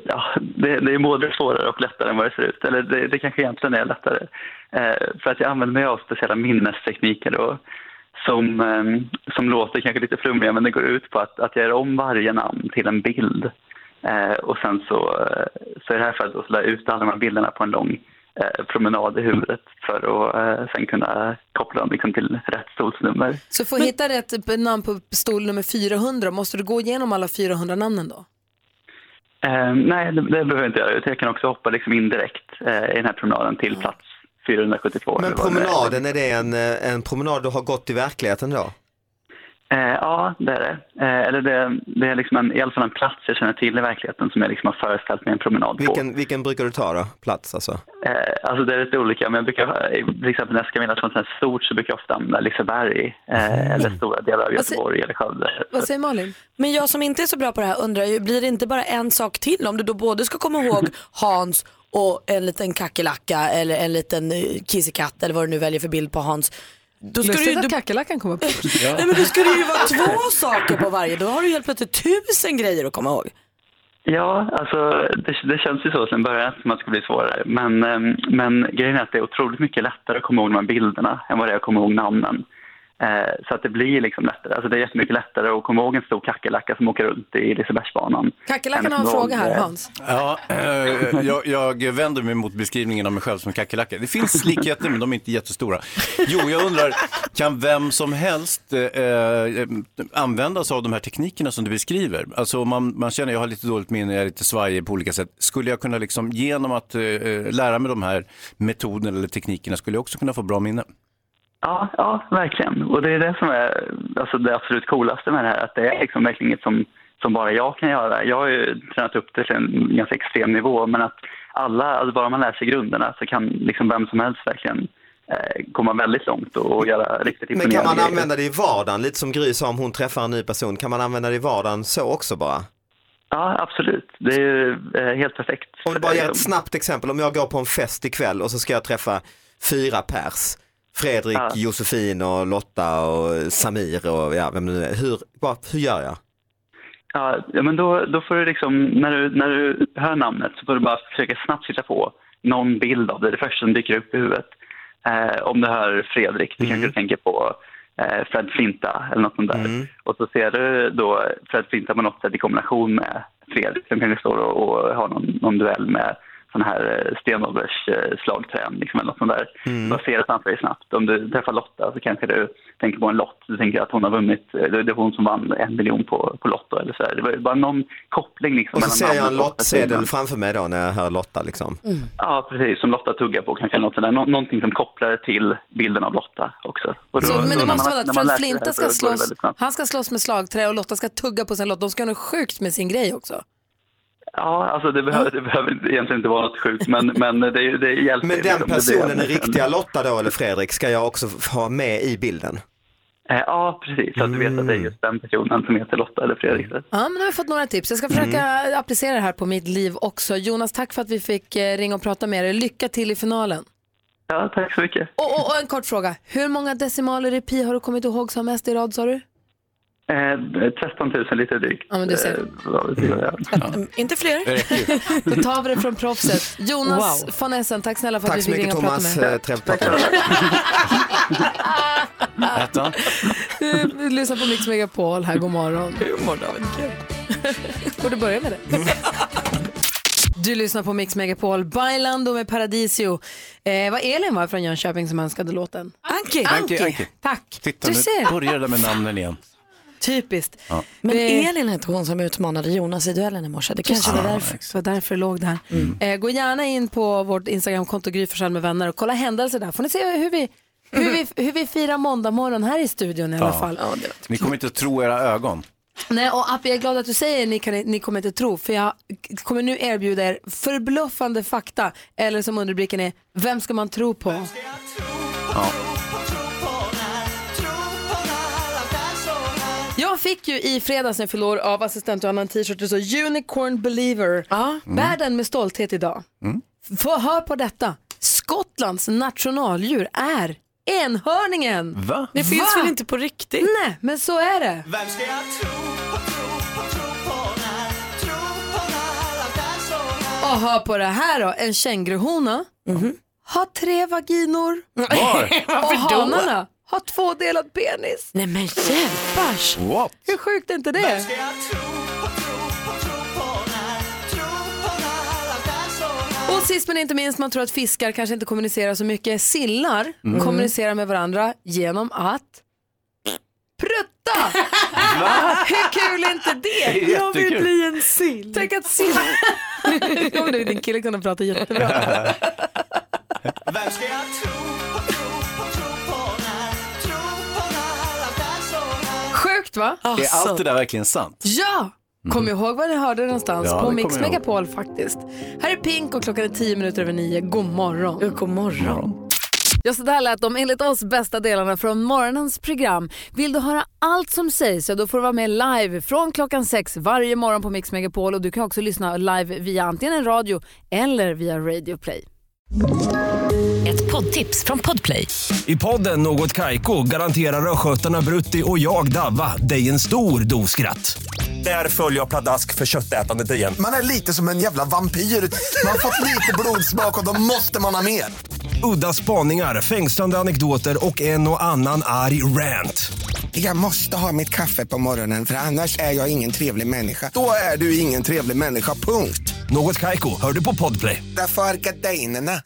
P: ja, det, det är både svårare och lättare än vad det ser ut. Eller det, det kanske egentligen är lättare. Eh, för att jag använder mig av speciella minnestekniker och, som, eh, som låter kanske lite flummiga men det går ut på att, att jag gör om varje namn till en bild. Eh, och sen så, eh, så är det här för att då slå ut alla de här bilderna på en lång eh, promenad i huvudet för att eh, sen kunna koppla dem liksom till rätt stolsnummer.
B: Så för att hitta rätt namn på stol nummer 400 måste du gå igenom alla 400 namnen då?
P: Eh, nej, det, det behöver jag inte göra. utan Jag kan också hoppa liksom indirekt eh, i den här promenaden till plats 472.
N: Mm. Men
P: eller vad det är.
N: promenaden, är det en, eh, en promenad du har gått i verkligheten då?
P: Eh, ja, det är det. Eh, eller det, det är liksom en, i alla fall en plats jag känner till i verkligheten som jag liksom har föreställt mig en promenad på.
N: Vilken, vilken brukar du ta då? Plats alltså?
P: Eh, alltså det är lite olika, men jag brukar, eh, till exempel när jag ska vinna något sånt här stort så brukar jag ofta använda Liseberg
N: Mm.
P: eh, eller stora delar av
D: Vad säger-
P: Göteborg eller Skövde.
D: Vad säger
B: Malin?
D: Men jag som inte är så bra på det här undrar ju, blir det inte bara en sak till om du då både ska komma ihåg Hans och en liten kackerlacka eller en liten eh, kissekatt eller vad du nu väljer för bild på Hans. Då ska du,
A: Lustigt
D: ju-
A: att
D: du,
A: kackerlackan kommer upp.
D: nej men då ska det ju vara två saker på varje, då har du helt plötsligt tusen grejer att komma ihåg.
P: Ja, alltså det, det känns ju så till en början att man ska bli svårare. Men, eh, men grejen är att det är otroligt mycket lättare att komma ihåg de här bilderna än vad det är att komma ihåg namnen. Eh, så att det blir liksom lättare. Alltså det är jättemycket lättare att komma ihåg en stor kackerlacka som åker runt i Lisebergsbanan.
B: Kackerlackan
P: än
B: har en
P: att komma
B: fråga
P: ihåg,
B: här,
P: eh,
B: Hans.
C: Ja, eh, jag, jag vänder mig mot beskrivningen av mig själv som kackerlacka. Det finns likheter men de är inte jättestora. Jo, jag undrar, kan vem som helst eh, eh, använda sig av de här teknikerna som du beskriver? Alltså om man, man känner, jag har lite dåligt minne, jag är lite svajig på olika sätt. Skulle jag kunna liksom, genom att eh, lära mig de här metoderna eller teknikerna, skulle jag också kunna få bra minne?
P: Ja, ja, verkligen. Och det är det som är alltså, det absolut coolaste med det här. Att det är liksom verkligen inget som, som bara jag kan göra. Jag har ju tränat upp det till en ganska extrem nivå. Men att alla, alltså bara man lär sig grunderna så kan liksom vem som helst verkligen eh, komma väldigt långt och, och göra riktigt
N: Men kan man
P: grejer.
N: använda det i vardagen? Lite som Gry sa om hon träffar en ny person. Kan man använda det i vardagen så också bara?
P: Ja, absolut. Det är ju eh, helt perfekt. Eh,
N: Om du bara ger ett snabbt exempel. Om jag går på en fest ikväll och så ska jag träffa fyra pers. Fredrik,
P: Ja.
N: Josefin och Lotta och Samir och ja, vem det nu är. Hur, bara, hur gör jag?
P: Ja, ja, men då, då får du liksom, när du, när du hör namnet så får du bara försöka snabbt hitta på någon bild av det, det första som dyker upp i huvudet. Eh, om du hör Fredrik, då
N: Mm.
P: kanske du tänker på eh, Fred Flinta eller något sånt där. Och så ser du då Fred Flinta på något sätt i kombination med Fredrik som kanske står och, och har någon, någon duell med sån här eh, stenåldersslagträn liksom, eller något sånt där.
N: Mm.
P: Bara ser det framför dig snabbt. Om du träffar Lotta så kanske du tänker på en lott. Du tänker att hon har vunnit, eh, det det var hon som vann en miljon på, på Lotto eller så här. Det var bara någon koppling liksom.
N: Och så
P: mellan
N: ser jag
P: namnet
N: en
P: och
N: lottsedel
P: personen.
N: framför mig då när jag hör Lotta liksom.
P: Ja, precis. Som Lotta tuggar på kanske. eller Något sånt där. Nå- någonting som kopplar till bilden av Lotta också. Och då-
B: Så, men
P: när
B: det
P: man-
B: måste vara
P: när
B: att
P: man lär
B: Fred
P: sig det
B: Flinta
P: här så
B: ska
P: går det
B: slåss,
P: väldigt snabbt.
B: han ska slåss med slagträ och Lotta ska tugga på sin lott. De ska ha något sjukt med sin grej också.
P: Ja, alltså det behöver, det behöver egentligen inte vara något sjukt, men, men det, det hjälper.
N: Men den
P: liksom. Det blir
N: personen,
P: en-
N: den riktiga Lotta då eller Fredrik, ska jag också f- ha med i bilden?
P: Eh, Ja, precis. Så att du vet att det är just den personen som heter Lotta eller Fredrik.
N: Mm.
B: Ja, men nu har vi fått några tips. Jag ska
P: Mm.
B: försöka applicera det här på mitt liv också. Jonas, tack för att vi fick eh, ringa och prata med dig. Lycka till i finalen.
P: Ja, tack så mycket.
B: Och, och, och en kort fråga. Hur många decimaler i pi har du kommit ihåg som mest i rad sa du?
P: Eh, 13 000 lite drygt.
B: Ja, men du ser. Mm.
P: Eh, vad vi gör.
D: Inte fler?
B: Då tar vi det från proffset. Jonas
D: Wow.
B: von Essen, tack snälla för att
N: Tack
B: vi
N: så
B: fick
N: mycket
B: ringa och prata med
N: Thomas,
B: dig.
N: Eh, trevligt att prata med dig.
B: Du lyssnar på Mix Megapol här, god morgon. God morgon David, Får du börja med det? Du lyssnar på Mix Megapol, Bailando med Paradisio. Eh, vad Elin var från Jönköping som önskade låten. Ah,
D: Anki!
C: Anki, Anki.
B: Tack!
C: Titta,
B: du
C: nu
B: ser.
C: börjar det där med namnen igen.
B: Typiskt.
C: Ja.
D: Men
B: Eh,
D: Elin hette hon som utmanade Jonas i duellen i morse, det kanske var
B: Just
D: därför.
B: Det var därför det låg där. Eh, gå gärna in på vårt Instagramkonto Gry Forssell med vänner och kolla händelser där. Får ni se hur vi, hur vi, hur vi firar måndag morgon här i studion i alla fall.
C: Ni kommer inte att tro era ögon.
B: Nej, och Appi, jag är glad att du säger ni, kan, ni kommer inte tro, för jag kommer nu erbjuda er förbluffande fakta, eller som underrubriken är, vem ska man tro på?
C: Ja.
B: Jag fick ju i fredags när jag fyllde år av assistent och annan t-shirt, det står Unicorn Believer. Bär den med stolthet idag.
C: Mm.
B: Få hör på detta. Skottlands nationaldjur är enhörningen.
C: Va?
D: Det finns väl inte på riktigt?
B: Nej, men så är det.
L: Vem ska jag tro på, tro på, tro på när? Tro på när alla där står här.
B: Och hör på det här då, en känguruhona har tre vaginor.
L: Mhm. Var?
B: och
L: Varför då?
B: hanarna har tvådelad penis.
D: Nej men hjälpars!
C: What?
B: Hur sjukt är inte
L: Vem
B: det?
L: ska jag tro på, tro på, tro på när? Tro på när alla där står här.
B: Och sist men inte minst, man tror att fiskar kanske inte kommunicerar så mycket. Sillar
L: Mm.
B: kommunicerar med varandra genom att prutta! Hur kul är inte det?
L: Det är Jag vill jättekul. bli
D: en sill.
B: Tänk att sill... Kommer du din kille kunna prata jättebra?
L: Vem ska jag tro på, tro på, tro på när? Tro på när alla där står här.
B: Sjukt
Q: sjukt va?
C: Är allt det där verkligen sant?
Q: Ja! Kom ihåg var ni hörde det någonstans.
C: Ja, det
Q: på
C: kommer
Q: Mix
C: jag ihåg.
Q: Megapol faktiskt. Här är Pink och klockan är tio minuter över nio. God morgon.
D: God morgon.
B: Ja, så där lät de enligt oss bästa delarna från morgonens program. Vill du höra allt som sägs så då får du vara med live från klockan sex varje morgon på Mix Megapol och du kan också lyssna live via antingen en radio eller via Radio Play.
F: Ett poddtips från Podplay.
R: I podden Något Kaiko garanterar östgötarna Brutti och jag, Davva, dig en stor dos skratt. Där följer jag pladask för köttätandet igen.
I: Man är lite som en jävla vampyr. Man har fått lite blodsmak och då måste man ha mer.
R: Udda spaningar, fängslande anekdoter och en och annan arg rant.
S: Jag måste ha mitt kaffe på morgonen för annars är jag ingen trevlig människa. Då är du ingen trevlig människa, punkt.
R: Något Kaiko, hör du på Podplay.
S: Därför arkadeinerna.